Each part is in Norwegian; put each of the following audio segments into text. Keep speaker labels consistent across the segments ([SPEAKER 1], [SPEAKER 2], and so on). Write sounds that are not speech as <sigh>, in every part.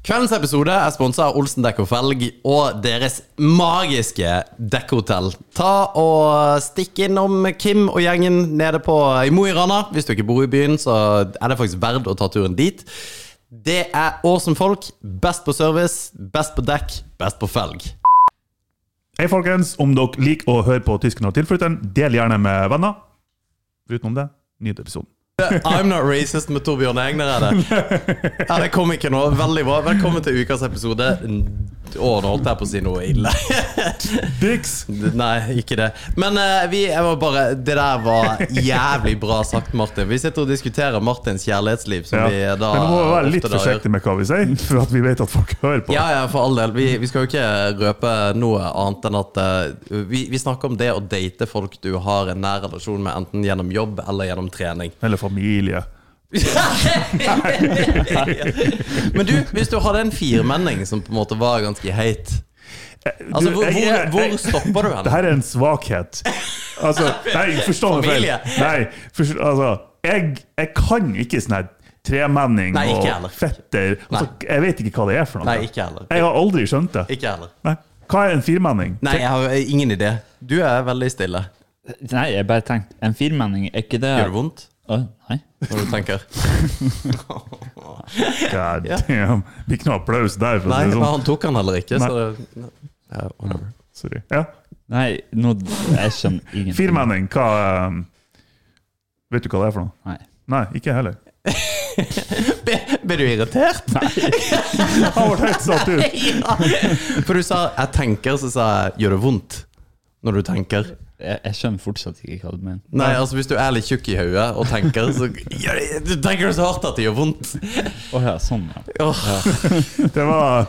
[SPEAKER 1] Kveldens episode er sponsa av Olsen Dekk og Felg og deres magiske dekkhotell. Ta og Stikk innom Kim og gjengen nede på, i Mo i Rana. Hvis du ikke bor i byen, så er det faktisk verdt å ta turen dit. Det er awesome folk. Best på service, best på dekk, best på felg.
[SPEAKER 2] Hei, folkens. Om dere liker å høre på Tysken og tilflytteren, del gjerne med venner. Utenom det, nyt episoden.
[SPEAKER 1] I'm not racist med Torbjørn Egner, er det? Ja, det kom ikke nå. Veldig bra. Velkommen til ukas episode. Å, nå holdt jeg på å si noe ille.
[SPEAKER 2] Dicks!
[SPEAKER 1] Nei, ikke det. Men eh, vi jeg var bare Det der var jævlig bra sagt, Martin. Vi sitter og diskuterer Martins kjærlighetsliv, som
[SPEAKER 2] Ja.
[SPEAKER 1] vi da
[SPEAKER 2] Men vi må være litt
[SPEAKER 1] ofte da gjør.
[SPEAKER 2] forsiktige med hva vi sier, <laughs> for at vi vet at folk hører på.
[SPEAKER 1] Ja, ja, for all del. Vi, vi skal jo ikke røpe noe annet enn at eh, vi, vi snakker om det å date folk du har en nær relasjon med, enten gjennom jobb eller gjennom trening. <laughs>
[SPEAKER 2] Eller familie.
[SPEAKER 1] Men du, hvis du hadde en firmenning som på en måte var ganske heit Altså,
[SPEAKER 2] Eh, Du,
[SPEAKER 1] hvor,
[SPEAKER 2] jeg
[SPEAKER 1] hvor,
[SPEAKER 2] er-
[SPEAKER 1] hvor
[SPEAKER 2] jeg-
[SPEAKER 1] stopper du
[SPEAKER 2] Det
[SPEAKER 1] henne?
[SPEAKER 2] her er en svakhet. Altså,
[SPEAKER 1] <laughs>
[SPEAKER 2] nei, forstå meg feil.
[SPEAKER 1] Familie.
[SPEAKER 2] Nei, forstå, altså, jeg, jeg kan ikke sånn her tremenning
[SPEAKER 1] Nei, ikke heller.
[SPEAKER 2] og fetter. Altså, jeg vet ikke hva det er for noe.
[SPEAKER 1] Nei, ikke heller.
[SPEAKER 2] Jeg har aldri skjønt det.
[SPEAKER 1] Ikke heller.
[SPEAKER 2] Nei. Hva er en firmenning?
[SPEAKER 1] Nei, jeg har ingen idé. Du er veldig stille.
[SPEAKER 3] Nei, jeg bare tenkte En firmenning, er ikke det
[SPEAKER 1] Gjør det vondt?
[SPEAKER 3] Å, nei.
[SPEAKER 1] når du tenker.
[SPEAKER 2] God damn. Blir ikke noe applaus der, for å
[SPEAKER 1] Nei,
[SPEAKER 2] si det
[SPEAKER 1] men
[SPEAKER 2] sånn.
[SPEAKER 1] han tok han heller ikke, så
[SPEAKER 2] Nei.
[SPEAKER 1] det, ja, whatever.
[SPEAKER 2] Sorry. Ja.
[SPEAKER 3] Nei, nå Jeg skjønner ingenting.
[SPEAKER 2] Firmenning, hva ehm, Vet du hva det er for noe?
[SPEAKER 3] Nei.
[SPEAKER 2] Nei, ikke jeg heller.
[SPEAKER 1] Ble, ble du irritert?
[SPEAKER 2] Jeg ble helt satt ut.
[SPEAKER 1] Ja. For du sa 'jeg tenker', så sa jeg 'gjør det vondt'. Når du tenker.
[SPEAKER 3] Jeg, jeg skjønner fortsatt ikke hva du mener.
[SPEAKER 1] Nei, altså hvis du er litt tjukk i hodet og tenker, så gjør det- du tenker du så hardt at det gjør vondt.
[SPEAKER 3] Å ja, sånn, ja.
[SPEAKER 1] Åh,
[SPEAKER 2] Det var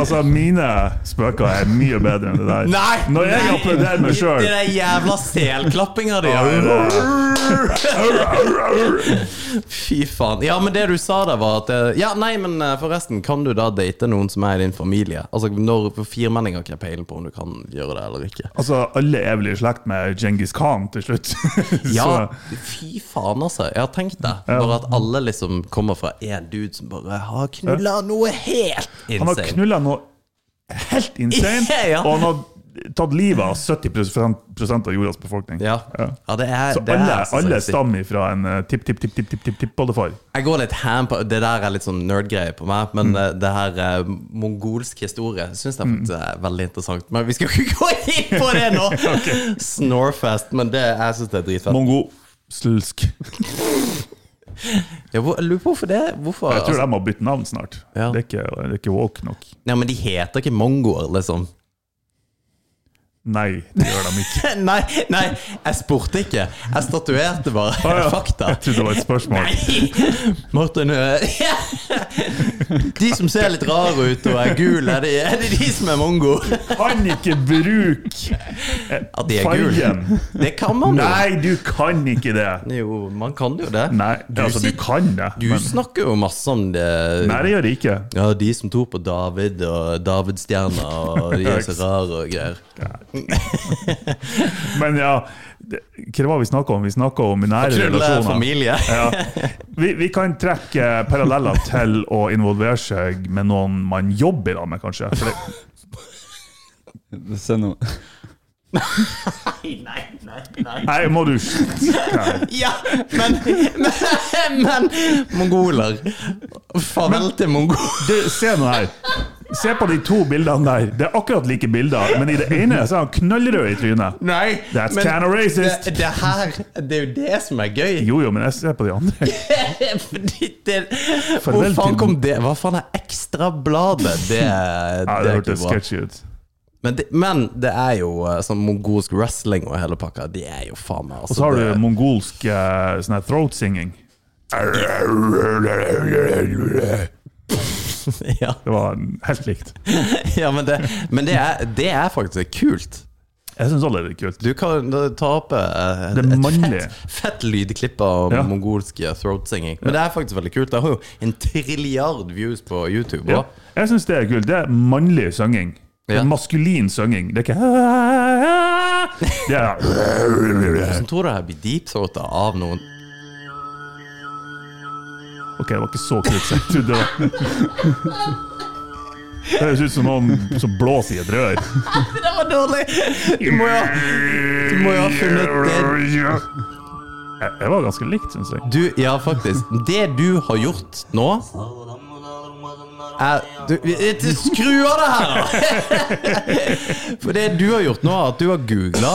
[SPEAKER 2] Altså, mine spøker er mye bedre enn det der.
[SPEAKER 1] Nei!
[SPEAKER 2] Når jeg
[SPEAKER 1] nei.
[SPEAKER 2] applauderer meg eh, sjøl
[SPEAKER 1] Det der jævla selklappinga di. Fy faen. Ja, men det du sa der, var at eh, Ja, nei, men eh, forresten, kan du da date noen som er i din familie? Altså, når for firmenning har ikke jeg peiling på om du kan gjøre det eller ikke.
[SPEAKER 2] Altså, alle er vel i slekt med Djengis Khan til slutt. <laughs>
[SPEAKER 1] Ja,
[SPEAKER 2] Så,
[SPEAKER 1] fy faen, altså. Jeg har tenkt det. Bare at alle liksom kommer fra én dude som bare har knulla noe helt
[SPEAKER 2] han har
[SPEAKER 1] insane.
[SPEAKER 2] knulla noe helt insane,
[SPEAKER 1] <laughs> Ja.
[SPEAKER 2] og han har tatt livet av 70 av jordas befolkning.
[SPEAKER 1] Ja. ja, det er
[SPEAKER 2] Så
[SPEAKER 1] det er
[SPEAKER 2] alle,
[SPEAKER 1] altså så
[SPEAKER 2] alle
[SPEAKER 1] sykt.
[SPEAKER 2] stammer fra en eh, tipp-tipp-tipp-tipp-tipp-oldefar.
[SPEAKER 1] Jeg går litt ham på Det der er litt sånn nerdgreie på meg,
[SPEAKER 2] Mm.
[SPEAKER 1] men eh, det her eh, mongolsk historie syns jeg faktisk er veldig interessant. Men vi skal ikke gå inn på det
[SPEAKER 2] <laughs>
[SPEAKER 1] nå! Snorfest. Men det, jeg syns det er dritfett.
[SPEAKER 2] Mongolsk.
[SPEAKER 1] Ja, hvor, jeg lurer på hvorfor det hvorfor,
[SPEAKER 2] Jeg tror
[SPEAKER 1] altså,
[SPEAKER 2] de må bytte navn snart.
[SPEAKER 1] Ja.
[SPEAKER 2] Det, er ikke, det er ikke woke nok.
[SPEAKER 1] ja, Men de heter ikke mongoer, liksom.
[SPEAKER 2] Nei, det gjør de
[SPEAKER 1] <laughs>
[SPEAKER 2] ikke.
[SPEAKER 1] nei, nei, jeg spurte ikke. Jeg statuerte bare
[SPEAKER 2] ja.
[SPEAKER 1] fakta. <laughs>
[SPEAKER 2] Jeg trodde det var et spørsmål.
[SPEAKER 1] Nei! Martin eh, <laughs> De som ser litt rare ut og er gule, er det, er det de som er mongo? <laughs>
[SPEAKER 2] Kan ikke bruke
[SPEAKER 1] At de er gule? <laughs>
[SPEAKER 2] fargen!
[SPEAKER 1] Det kan man jo.
[SPEAKER 2] Nei, du kan ikke det!
[SPEAKER 1] Jo, man kan jo det.
[SPEAKER 2] Nei,
[SPEAKER 1] Du
[SPEAKER 2] altså, du
[SPEAKER 1] sit-
[SPEAKER 2] kan det,
[SPEAKER 1] Du
[SPEAKER 2] men
[SPEAKER 1] snakker jo masse om det.
[SPEAKER 2] Nei, det gjør det ikke.
[SPEAKER 1] Ja, de som tror på David og Davidstjerna
[SPEAKER 2] <laughs>
[SPEAKER 1] og de er så rare og greier.
[SPEAKER 2] Men ja, det, hva var det vi snakka om? Vi snakka om nære
[SPEAKER 1] Knulle
[SPEAKER 2] relasjoner.
[SPEAKER 1] familie.
[SPEAKER 2] Ja. Vi, vi kan trekke eh, paralleller til å involvere seg med noen man jobber da med, kanskje. For det,
[SPEAKER 3] Se nå.
[SPEAKER 1] Nei, nei, nei.
[SPEAKER 2] nei, må du Nei.
[SPEAKER 1] <laughs> Ja, men <laughs> Men, men mongoler. Farvel til mongoler.
[SPEAKER 2] Du, se nå her. Se på de to bildene der. Det er akkurat like bilder, men i det ene så er han knallrød i trynet.
[SPEAKER 1] Nei,
[SPEAKER 2] That's
[SPEAKER 1] men
[SPEAKER 2] kinda racist.
[SPEAKER 1] Det, det her Det er jo det som er gøy.
[SPEAKER 2] Jo, jo, men jeg ser på de andre.
[SPEAKER 1] <laughs> Fordi det, hvor
[SPEAKER 2] Farvel
[SPEAKER 1] faen
[SPEAKER 2] til-
[SPEAKER 1] kom det Hva faen er Ekstrabladet? Det, det
[SPEAKER 2] <laughs> Ja, det
[SPEAKER 1] er ikke
[SPEAKER 2] hørtes
[SPEAKER 1] bra.
[SPEAKER 2] sketchy ut.
[SPEAKER 1] Men det, men det er jo eh, sånn mongolsk wrestling og hele pakka. De er jo faen meg altså,
[SPEAKER 2] Og så har du
[SPEAKER 1] det,
[SPEAKER 2] mongolsk eh, sånn her throat singing. Det
[SPEAKER 1] <laughs> ja,
[SPEAKER 2] var helt likt.
[SPEAKER 1] ja, men, det, men det, er, det er faktisk kult.
[SPEAKER 2] Jeg syns alle er litt kult.
[SPEAKER 1] Du kan eh, ta opp eh,
[SPEAKER 2] Det
[SPEAKER 1] et
[SPEAKER 2] mannlige.
[SPEAKER 1] fett, fett lydklipp av
[SPEAKER 2] Ja.
[SPEAKER 1] mongolsk eh, throat singing. Men det er faktisk veldig kult. Det har jo en trilliard views på YouTube.
[SPEAKER 2] Ja.
[SPEAKER 1] også.
[SPEAKER 2] Jeg syns det er kult. Det er mannlig synging. Det
[SPEAKER 1] Ja.
[SPEAKER 2] er maskulin synging. Det er ikke <laughs> Det er
[SPEAKER 1] Hvordan tror du det her blir deepsorta av noen
[SPEAKER 2] Ok, det var ikke så kult som jeg trodde det var. Det høres ut som noen som blåser i et rør.
[SPEAKER 1] <laughs> Det var dårlig! Du må jo Du må jo ha funnet det
[SPEAKER 2] Jeg jeg var ganske likt, syns jeg.
[SPEAKER 1] Du, ja, faktisk. Det du har gjort nå er, du, du- Skru av det her, da! <laughs> For det du har gjort nå, er at du har googla,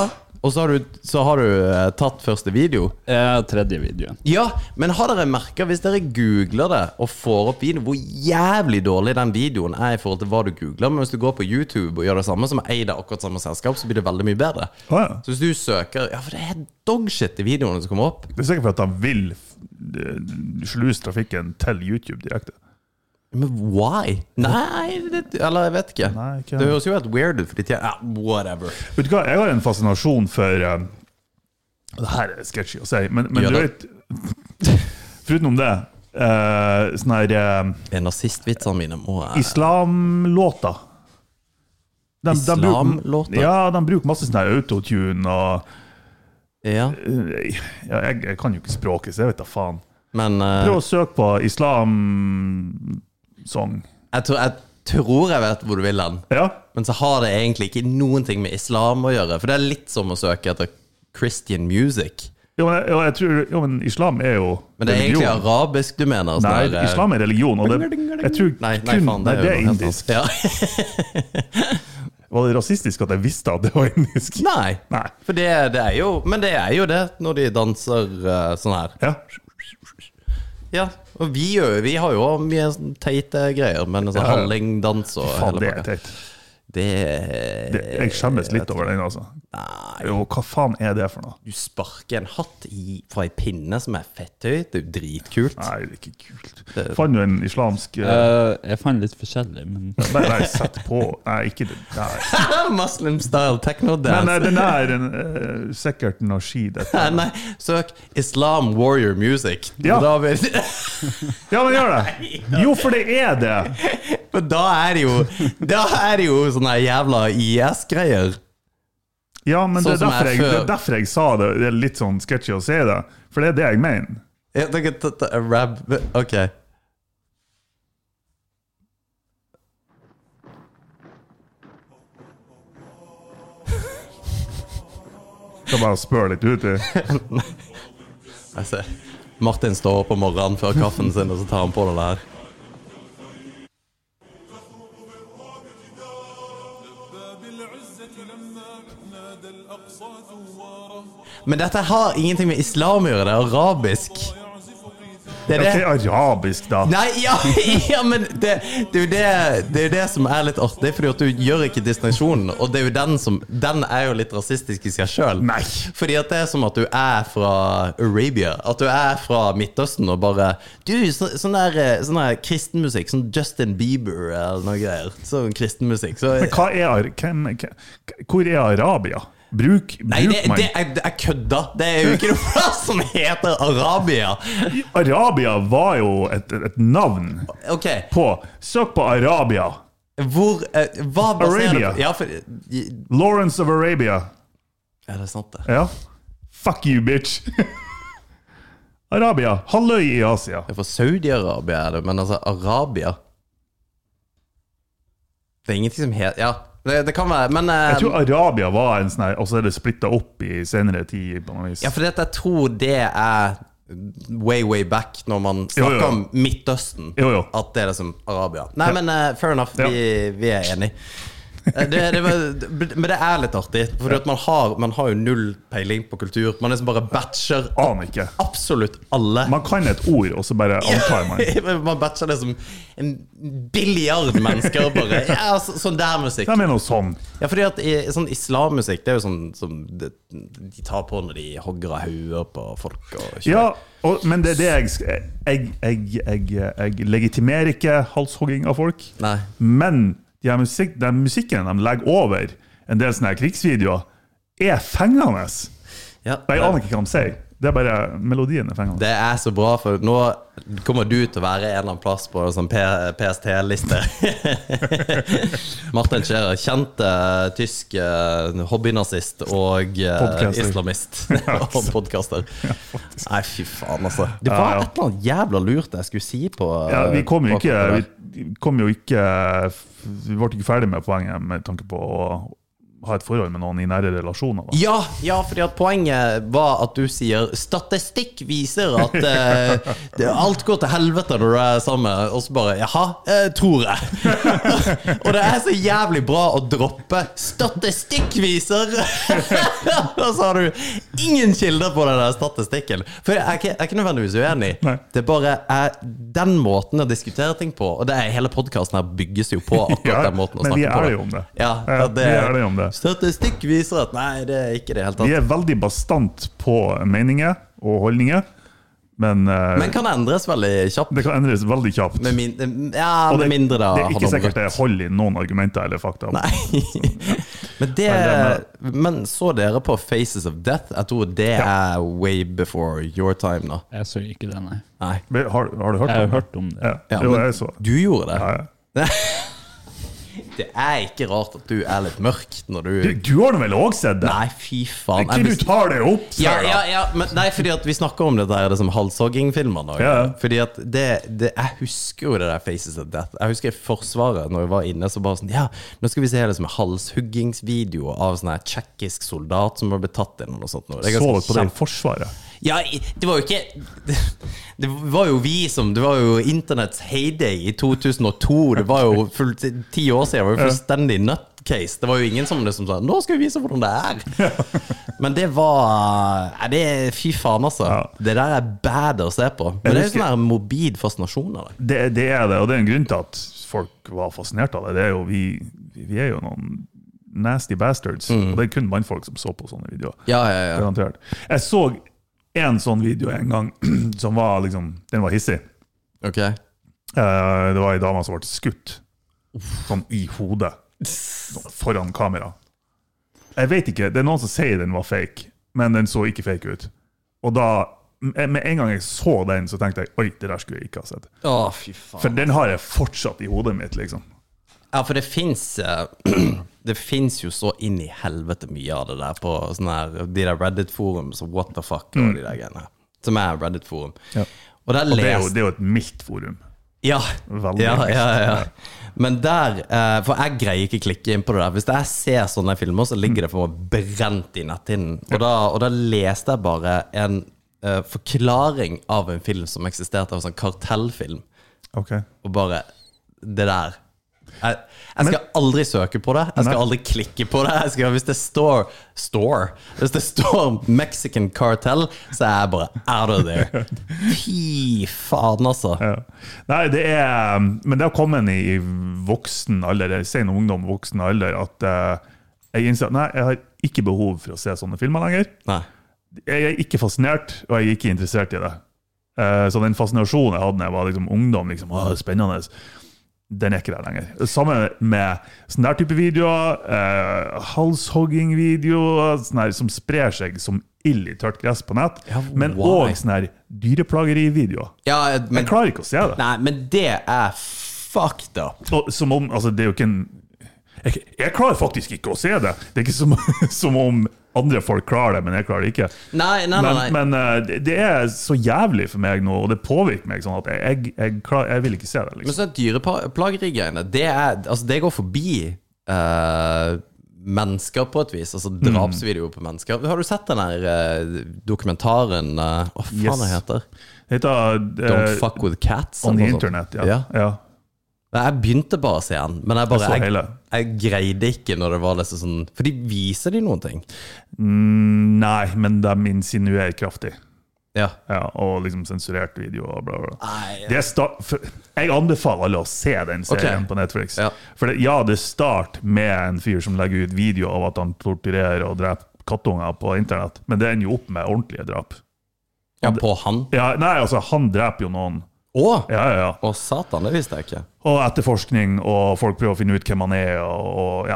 [SPEAKER 1] og så har du, så har du eh, tatt første video.
[SPEAKER 3] Ja, tredje videoen.
[SPEAKER 1] Ja, men har dere merka, hvis dere googler det og får opp video, hvor jævlig dårlig den videoen er i forhold til hva du googler? Men hvis du går på YouTube og gjør det samme, som er eid av akkurat samme selskap, så blir det veldig mye bedre.
[SPEAKER 2] Å, ja.
[SPEAKER 1] Så hvis du søker Ja, for det er dogshit i videoene som kommer opp.
[SPEAKER 2] Det er sikkert fordi han vil eh, sluse trafikken til YouTube direkte.
[SPEAKER 1] Men why? Nei, det, eller jeg vet ikke.
[SPEAKER 2] Nei, ikke
[SPEAKER 1] Det høres jo helt weird ut, for de tjener ja, Whatever.
[SPEAKER 2] Vet du hva, jeg har en fascinasjon for eh, Det her er sketchy å si, men, men
[SPEAKER 1] Gjør
[SPEAKER 2] du
[SPEAKER 1] det.
[SPEAKER 2] vet <laughs> Foruten om det, eh, sånne her eh,
[SPEAKER 1] Er Nazistvitsene mine må jeg
[SPEAKER 2] islamlåter. De- de bruker-
[SPEAKER 1] Islamlåter?
[SPEAKER 2] Ja, de bruker masse sånn her autotune og
[SPEAKER 1] Ja,
[SPEAKER 2] eh, ja, jeg, jeg kan jo ikke språket, så jeg vet da faen.
[SPEAKER 1] men eh,
[SPEAKER 2] Prøv å søke på islamsong.
[SPEAKER 1] jeg, tror, jeg tror jeg vet hvor du vil hen.
[SPEAKER 2] Ja,
[SPEAKER 1] Men så har det egentlig ikke noen ting med islam å gjøre. For det er litt som å søke etter Christian music.
[SPEAKER 2] jo, men, jeg- jo, jeg tror, jo, men islam er jo
[SPEAKER 1] Men det er egentlig
[SPEAKER 2] religion.
[SPEAKER 1] arabisk du mener? sånn
[SPEAKER 2] Nei,
[SPEAKER 1] der, eh,
[SPEAKER 2] islam er religion, og det, jeg tror kun,
[SPEAKER 1] Nei, nei, faen, det, er jo noe helt
[SPEAKER 2] indisk.
[SPEAKER 1] annet. Ja. <laughs>
[SPEAKER 2] Var det rasistisk at jeg visste at det var indisk?
[SPEAKER 1] Nei.
[SPEAKER 2] Nei.
[SPEAKER 1] For det, det er jo Men det er jo det, når de danser eh, sånn her.
[SPEAKER 2] Ja.
[SPEAKER 1] Ja, og vi, gjør, vi har jo også mye sånn teite greier, men sånn
[SPEAKER 2] Ja.
[SPEAKER 1] hallingdans og
[SPEAKER 2] Faen,
[SPEAKER 1] hele
[SPEAKER 2] det er
[SPEAKER 1] pakka.
[SPEAKER 2] teit.
[SPEAKER 1] Det
[SPEAKER 2] Det- Jeg skjemmes litt over den, altså.
[SPEAKER 1] Nei,
[SPEAKER 2] Jo, hva faen er det for noe?
[SPEAKER 1] du sparker en hatt i, fra ei pinne som er fetthøy. Det er jo dritkult.
[SPEAKER 2] Nei, det er ikke kult. Fant du en islamsk eh,
[SPEAKER 3] Eh, jeg fant litt forskjellig, men
[SPEAKER 2] Nei, nei, sett på. Nei, ikke det.
[SPEAKER 1] <laughs>
[SPEAKER 2] Nei.
[SPEAKER 1] Muslim style techno
[SPEAKER 2] Men
[SPEAKER 1] dance.
[SPEAKER 2] eh, den er en, eh, sikkert noe ski,
[SPEAKER 1] <laughs>
[SPEAKER 2] dette.
[SPEAKER 1] Nei, nei, søk Islam warrior music.
[SPEAKER 2] Ja.
[SPEAKER 1] Da, vil, <laughs>
[SPEAKER 2] Ja, men gjør det! Jo, for det er det!
[SPEAKER 1] for da er det jo Da er det jo sånne jævla IS-greier.
[SPEAKER 2] Ja, men det er
[SPEAKER 1] Sånn som
[SPEAKER 2] derfor
[SPEAKER 1] jeg
[SPEAKER 2] jeg, det er
[SPEAKER 1] før-
[SPEAKER 2] derfor jeg sa det. Det er litt sånn sketchy å si det, for det er det jeg mener.
[SPEAKER 1] Ja, dere t- t- Rab Ok.
[SPEAKER 2] Skal bare spørre litt ut i
[SPEAKER 1] Jeg ser. Martin står opp om morgenen før kaffen sin, og så tar han på det der. Men dette har ingenting med islam å gjøre, det er arabisk. Det er det.
[SPEAKER 2] Ok, arabisk, da.
[SPEAKER 1] Nei, ja, <laughs> ja men det, det, er jo det, det er jo det som er litt artig, Fordi at du gjør ikke distinksjonen. Og det er jo den som Den er jo litt rasistisk i seg sjøl.
[SPEAKER 2] Nei.
[SPEAKER 1] Fordi at det er som at du er fra Arabia. At du er fra Midtøsten og bare Du, så, sånn der, eh, sånn der kristenmusikk. Sånn Justin Bieber eller noe greier. Sånn kristenmusikk. Så,
[SPEAKER 2] Men hva er, ar- hvem, hva- hvor er Arabia? Bruk,
[SPEAKER 1] Nei, det,
[SPEAKER 2] bruk man
[SPEAKER 1] det, er, det er kødda! Det er jo ikke noe <laughs> plass som heter Arabia!
[SPEAKER 2] Arabia var jo et, et navn
[SPEAKER 1] Ok,
[SPEAKER 2] på Søk på Arabia.
[SPEAKER 1] hvor eh, Hva baserer
[SPEAKER 2] Arabia.
[SPEAKER 1] du Ja, for Er
[SPEAKER 2] Lawrence of Arabia.
[SPEAKER 1] det sant, det?
[SPEAKER 2] Ja. Fuck you, bitch. <laughs> Arabia. Halvøy i Asia.
[SPEAKER 1] Ja, for Saudi-Arabia er det, men altså Arabia Det er ingenting som heter Ja, det, det kan være, men eh,
[SPEAKER 2] Jeg tror Arabia var en sånn her, og så er det splitta opp i senere tid. på noe vis.
[SPEAKER 1] eh, Ja, for det, at jeg tror det er way, way back når man snakker
[SPEAKER 2] jo.
[SPEAKER 1] om Midtøsten.
[SPEAKER 2] Jo, jo.
[SPEAKER 1] At det er det som Arabia. Nei, men eh, fair enough,
[SPEAKER 2] Ja.
[SPEAKER 1] vi, vi er enige. Eh, Det, det var, det- men det er litt artig, for at man, har, man har jo null peiling på kultur. Man liksom bare batcher
[SPEAKER 2] Aner ikke.
[SPEAKER 1] absolutt alle.
[SPEAKER 2] Man kan et ord, og så bare antar man.
[SPEAKER 1] <laughs> Man batcher det som en billiard mennesker. Bare, ja, så, sånn der musikk.
[SPEAKER 2] De er noe sånn.
[SPEAKER 1] Ja, fordi at i, sånn islammusikk Det er jo sånn som de, de tar på når de hogger av hoder på folk. Og kjører.
[SPEAKER 2] Ja, og, men det er det jeg sk- Jeg, jeg, jeg, jeg legitimerer ikke halshogging av folk.
[SPEAKER 1] Nei.
[SPEAKER 2] Men de her musikk, den musikken de legger over en del sånne her krigsvideoer, er fengende.
[SPEAKER 1] Ja,
[SPEAKER 2] Jeg aner ikke hva de sier. Det er bare melodien er fengende.
[SPEAKER 1] Det er så bra, for nå kommer du til å være en eller annen plass på en sånn P- PST-liste. <laughs> Martin Scherer, kjent eh, tysk eh, hobbynazist og eh,
[SPEAKER 2] Podcaster.
[SPEAKER 1] <laughs> islamist. og podkaster. Nei, fy faen, altså. Det
[SPEAKER 2] Ja,
[SPEAKER 1] var
[SPEAKER 2] ja.
[SPEAKER 1] et eller annet jævla lurt jeg skulle si på eh,
[SPEAKER 2] Ja, vi kom jo
[SPEAKER 1] på
[SPEAKER 2] ikke,
[SPEAKER 1] akkurat det der.
[SPEAKER 2] vi kom jo ikke Vi ble ikke ferdig med poenget med tanke på å ha et forhold med noen i nære relasjoner. Da.
[SPEAKER 1] Ja, ja, fordi at poenget var at du sier statistikk viser at
[SPEAKER 2] <laughs>
[SPEAKER 1] eh, det, alt går til helvete når du er sammen. Og så bare jaha, eh, tror jeg. <laughs> og det er så jævlig bra å droppe statistikk viser! <laughs> og så har du ingen kilder på den der statistikken. For jeg er ikke, jeg er ikke nødvendigvis uenig.
[SPEAKER 2] Nei.
[SPEAKER 1] Det er bare er den måten å diskutere ting på, og det er hele podkasten her bygges jo på akkurat
[SPEAKER 2] Ja,
[SPEAKER 1] den måten å
[SPEAKER 2] men vi
[SPEAKER 1] snakke på.
[SPEAKER 2] er
[SPEAKER 1] det.
[SPEAKER 2] jo om det.
[SPEAKER 1] Ja,
[SPEAKER 2] Ja,
[SPEAKER 1] ja, det,
[SPEAKER 2] vi er det om det.
[SPEAKER 1] Statistikk viser at nei, det er ikke det helt
[SPEAKER 2] Vi
[SPEAKER 1] tatt.
[SPEAKER 2] er veldig bastant på meninger og holdninger, men, eh,
[SPEAKER 1] Men kan endres veldig kjapt.
[SPEAKER 2] det kan endres veldig kjapt.
[SPEAKER 1] Med, min, ja,
[SPEAKER 2] Og
[SPEAKER 1] med mindre det
[SPEAKER 2] det er
[SPEAKER 1] handler
[SPEAKER 2] ikke
[SPEAKER 1] om
[SPEAKER 2] sikkert det
[SPEAKER 1] rødt.
[SPEAKER 2] er hold i noen argumenter eller fakta.
[SPEAKER 1] Nei. <laughs> Men, det, men så dere på Faces of Death? Jeg tror det er way before your time, da.
[SPEAKER 3] Jeg så ikke det, nei.
[SPEAKER 1] Nei.
[SPEAKER 2] Har, har du hørt
[SPEAKER 3] Jeg
[SPEAKER 2] om
[SPEAKER 3] har
[SPEAKER 2] det?
[SPEAKER 3] hørt om det.
[SPEAKER 2] Ja.
[SPEAKER 1] Ja,
[SPEAKER 2] jo,
[SPEAKER 1] men
[SPEAKER 2] jeg så
[SPEAKER 1] Du gjorde det.
[SPEAKER 2] ja, ja.
[SPEAKER 1] <laughs> Det er ikke rart at du er litt mørk når
[SPEAKER 2] Du,
[SPEAKER 1] du
[SPEAKER 2] du har nå vel òg sett det?
[SPEAKER 1] Nei, fy faen.
[SPEAKER 2] Ikke du tar det opp? sier
[SPEAKER 1] Ja,
[SPEAKER 2] jeg.
[SPEAKER 1] ja, ja, men nei, fordi at vi snakker om det der liksom halshogging-filmene.
[SPEAKER 2] Ja, ja.
[SPEAKER 1] Fordi at det, det, jeg husker jo det der Faces of Death. Jeg husker i Forsvaret, når vi var inne, så bare sånn Ja, nå skal vi se liksom halshuggingsvideo av sånn her tsjekkisk soldat som var blitt tatt inn, eller noe sånt. nå. Det er
[SPEAKER 2] Så
[SPEAKER 1] ganske
[SPEAKER 2] dere på det
[SPEAKER 1] kjent.
[SPEAKER 2] i Forsvaret?
[SPEAKER 1] Ja, i- det var jo ikke <laughs> det, det var jo vi som Det var jo internetts heyday i 2002. Det var jo fullt, ti år siden. Det var jo fullstendig nutcase. Det var jo ingen som liksom sa 'Nå skal vi vise hvordan det
[SPEAKER 2] <laughs>
[SPEAKER 1] er'. Men det var Nei, det er Fy faen, altså.
[SPEAKER 2] Ja.
[SPEAKER 1] Det der er bad å se på. Men det er jo sånn her morbid fascinasjon av det.
[SPEAKER 2] Det, det er det, og det er en grunn til at folk var fascinert av det. det er jo, vi, vi er jo noen nasty bastards,
[SPEAKER 1] Mm.
[SPEAKER 2] og det er kun mannfolk som så på sånne videoer.
[SPEAKER 1] Ja, ja, ja.
[SPEAKER 2] Garantert. Jeg så en sånn video en gang, <clears throat> som var liksom, den var hissig.
[SPEAKER 1] Ok.
[SPEAKER 2] Eh, Det var ei dame som ble skutt, sånn i hodet, sånn foran kamera. Jeg vet ikke, det er noen som sier den var fake, men den så ikke fake ut. Og da, med en gang jeg så den, så tenkte jeg, oi, det der skulle jeg ikke ha sett.
[SPEAKER 1] Å, fy faen.
[SPEAKER 2] For den har jeg fortsatt i hodet mitt, liksom.
[SPEAKER 1] Ja, for det fins <clears throat> Det fins jo så inn i helvete mye av det der på sånne her, de der Reddit-forum, så what the fuck, og de der greiene. Som er Reddit-forum. Og der
[SPEAKER 2] Mm. Det er, jo,
[SPEAKER 1] leste
[SPEAKER 2] det er jo et mildt forum.
[SPEAKER 1] Ja,
[SPEAKER 2] Veldig
[SPEAKER 1] ja,
[SPEAKER 2] mye.
[SPEAKER 1] ja, ja. Men der eh, For jeg greier ikke klikke inn på det der. Hvis jeg ser sånne filmer, så
[SPEAKER 2] Mm.
[SPEAKER 1] ligger det for meg brent i netthinnen. Og da, og da leste jeg bare en eh, forklaring av en film som eksisterte, en sånn kartellfilm, og bare Det der jeg, jeg skal aldri søke på det. Jeg skal
[SPEAKER 2] Nei.
[SPEAKER 1] aldri klikke på det. Jeg skal, hvis det står står, Hvis det står Mexican Cartel, så er jeg bare out of there. Fy faen, altså.
[SPEAKER 2] Ja. Nei, det er Men det har kommet i voksen alder, eller sen ungdom, voksen alder, at eh, jeg innser at nei, jeg har ikke behov for å se sånne filmer lenger.
[SPEAKER 1] Nei.
[SPEAKER 2] Jeg er ikke fascinert, og jeg er ikke interessert i det. Eh, så den fascinasjonen jeg hadde da jeg var liksom, ungdom, liksom, Åh, spennende, den er ikke der lenger. Samme med sånne der type videoer, eh, halshogging-videoer, sånne her som sprer seg som ild i tørt gress på nett,
[SPEAKER 1] Ja,
[SPEAKER 2] men
[SPEAKER 1] why?
[SPEAKER 2] òg sånne her dyreplageri-videoer.
[SPEAKER 1] Ja,
[SPEAKER 2] Jeg
[SPEAKER 1] men,
[SPEAKER 2] klarer ikke å se det.
[SPEAKER 1] nei, men det er fucked up.
[SPEAKER 2] Og, som om, altså, det er jo ikke en jeg, jeg klarer faktisk ikke å se det. Det er ikke som, <laughs> som om andre folk klarer det, men jeg klarer det ikke.
[SPEAKER 1] Nei, nei, nei, nei.
[SPEAKER 2] Men, men eh, det- det er så jævlig for meg nå, og det påvirker meg sånn at jeg, jeg, klar, jeg vil ikke se det.
[SPEAKER 1] Men
[SPEAKER 2] Liksom.
[SPEAKER 1] sånn dyreplagerigreiene, det, er- altså, det går forbi eh, mennesker på et vis. Altså
[SPEAKER 2] Mm.
[SPEAKER 1] drapsvideoer på mennesker. Har du sett den der eh, dokumentaren eh, Hva faen
[SPEAKER 2] Yes.
[SPEAKER 1] den heter
[SPEAKER 2] Det heter
[SPEAKER 1] Don't
[SPEAKER 2] eh,
[SPEAKER 1] fuck with cats?
[SPEAKER 2] On
[SPEAKER 1] eller
[SPEAKER 2] the
[SPEAKER 1] noe sånt.
[SPEAKER 2] Internet, ja.
[SPEAKER 1] Ja.
[SPEAKER 2] ja.
[SPEAKER 1] Nei, Jeg begynte bare å se den, men jeg bare
[SPEAKER 2] Jeg så
[SPEAKER 1] jeg,
[SPEAKER 2] hele.
[SPEAKER 1] jeg greide ikke når det var liksom sånn For de viser de noen ting.
[SPEAKER 2] Mm, nei, men de insinuerer kraftig.
[SPEAKER 1] Ja.
[SPEAKER 2] Ja, og liksom sensurerte videoer og bla, bla. bla.
[SPEAKER 1] Nei,
[SPEAKER 2] Det er sta- for, jeg anbefaler alle å se den serien
[SPEAKER 1] Ok.
[SPEAKER 2] på Netflix.
[SPEAKER 1] Ja.
[SPEAKER 2] For det, ja, det starter med en fyr som legger ut video av at han torturerer og dreper kattunger på internett, men det ender jo opp med ordentlige drap.
[SPEAKER 1] ja, på han?
[SPEAKER 2] Ja, nei, altså, han dreper jo noen.
[SPEAKER 1] Å!
[SPEAKER 2] Ja, ja, ja.
[SPEAKER 1] Å, satan, det visste jeg ikke.
[SPEAKER 2] Og etterforskning, og folk prøver å finne ut hvem han er, og, og ja.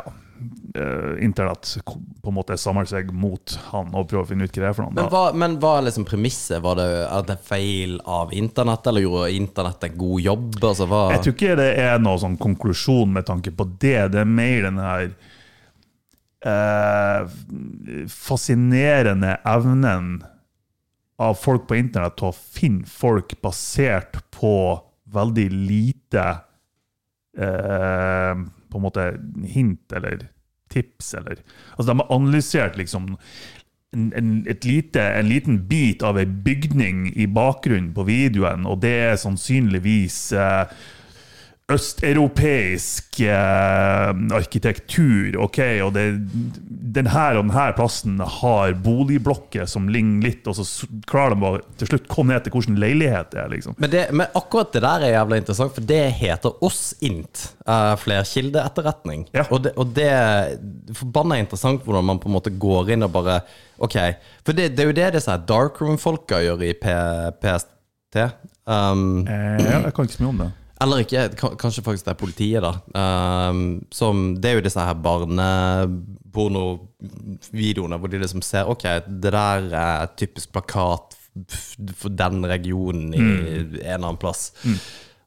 [SPEAKER 2] eh, internett ko- på en måte samler seg mot han og prøver å finne ut hva det er for noe.
[SPEAKER 1] Men
[SPEAKER 2] Da.
[SPEAKER 1] hva, men hva er liksom premisset? Var det, er det feil av internett, eller gjorde internett en god jobb? Altså, hva,
[SPEAKER 2] Jeg tror ikke det er noen sånn konklusjon med tanke på det. Det er mer den her eh, fascinerende evnen av folk på internett til å finne folk basert på veldig lite eh, på en måte hint eller tips eller Altså, de har analysert liksom en, en, et lite, en liten bit av ei bygning i bakgrunnen på videoen, og det er sannsynligvis eh, østeuropeisk eh, arkitektur. ok, og det, den her og den her plassen har boligblokker som ligner litt, og så s- klarer de bare til slutt komme ned til hvilken leilighet det er. liksom.
[SPEAKER 1] men, det, men akkurat det der er jævla interessant, for det heter OSSINT. Uh, Flerkildeetterretning.
[SPEAKER 2] Ja.
[SPEAKER 1] Og, det, og det er forbanna interessant hvordan man på en måte går inn og bare Ok. For det, det er jo det disse her darkroom-folka gjør i P, PST. Um,
[SPEAKER 2] Eh, ja, jeg kan ikke så mye om det.
[SPEAKER 1] Eller ikke, ka- kanskje faktisk det er politiet, da. Ehm, som, det er jo disse her barnepornovideoene hvor de liksom ser Ok, det der er typisk plakat f- for den regionen i en eller annen plass.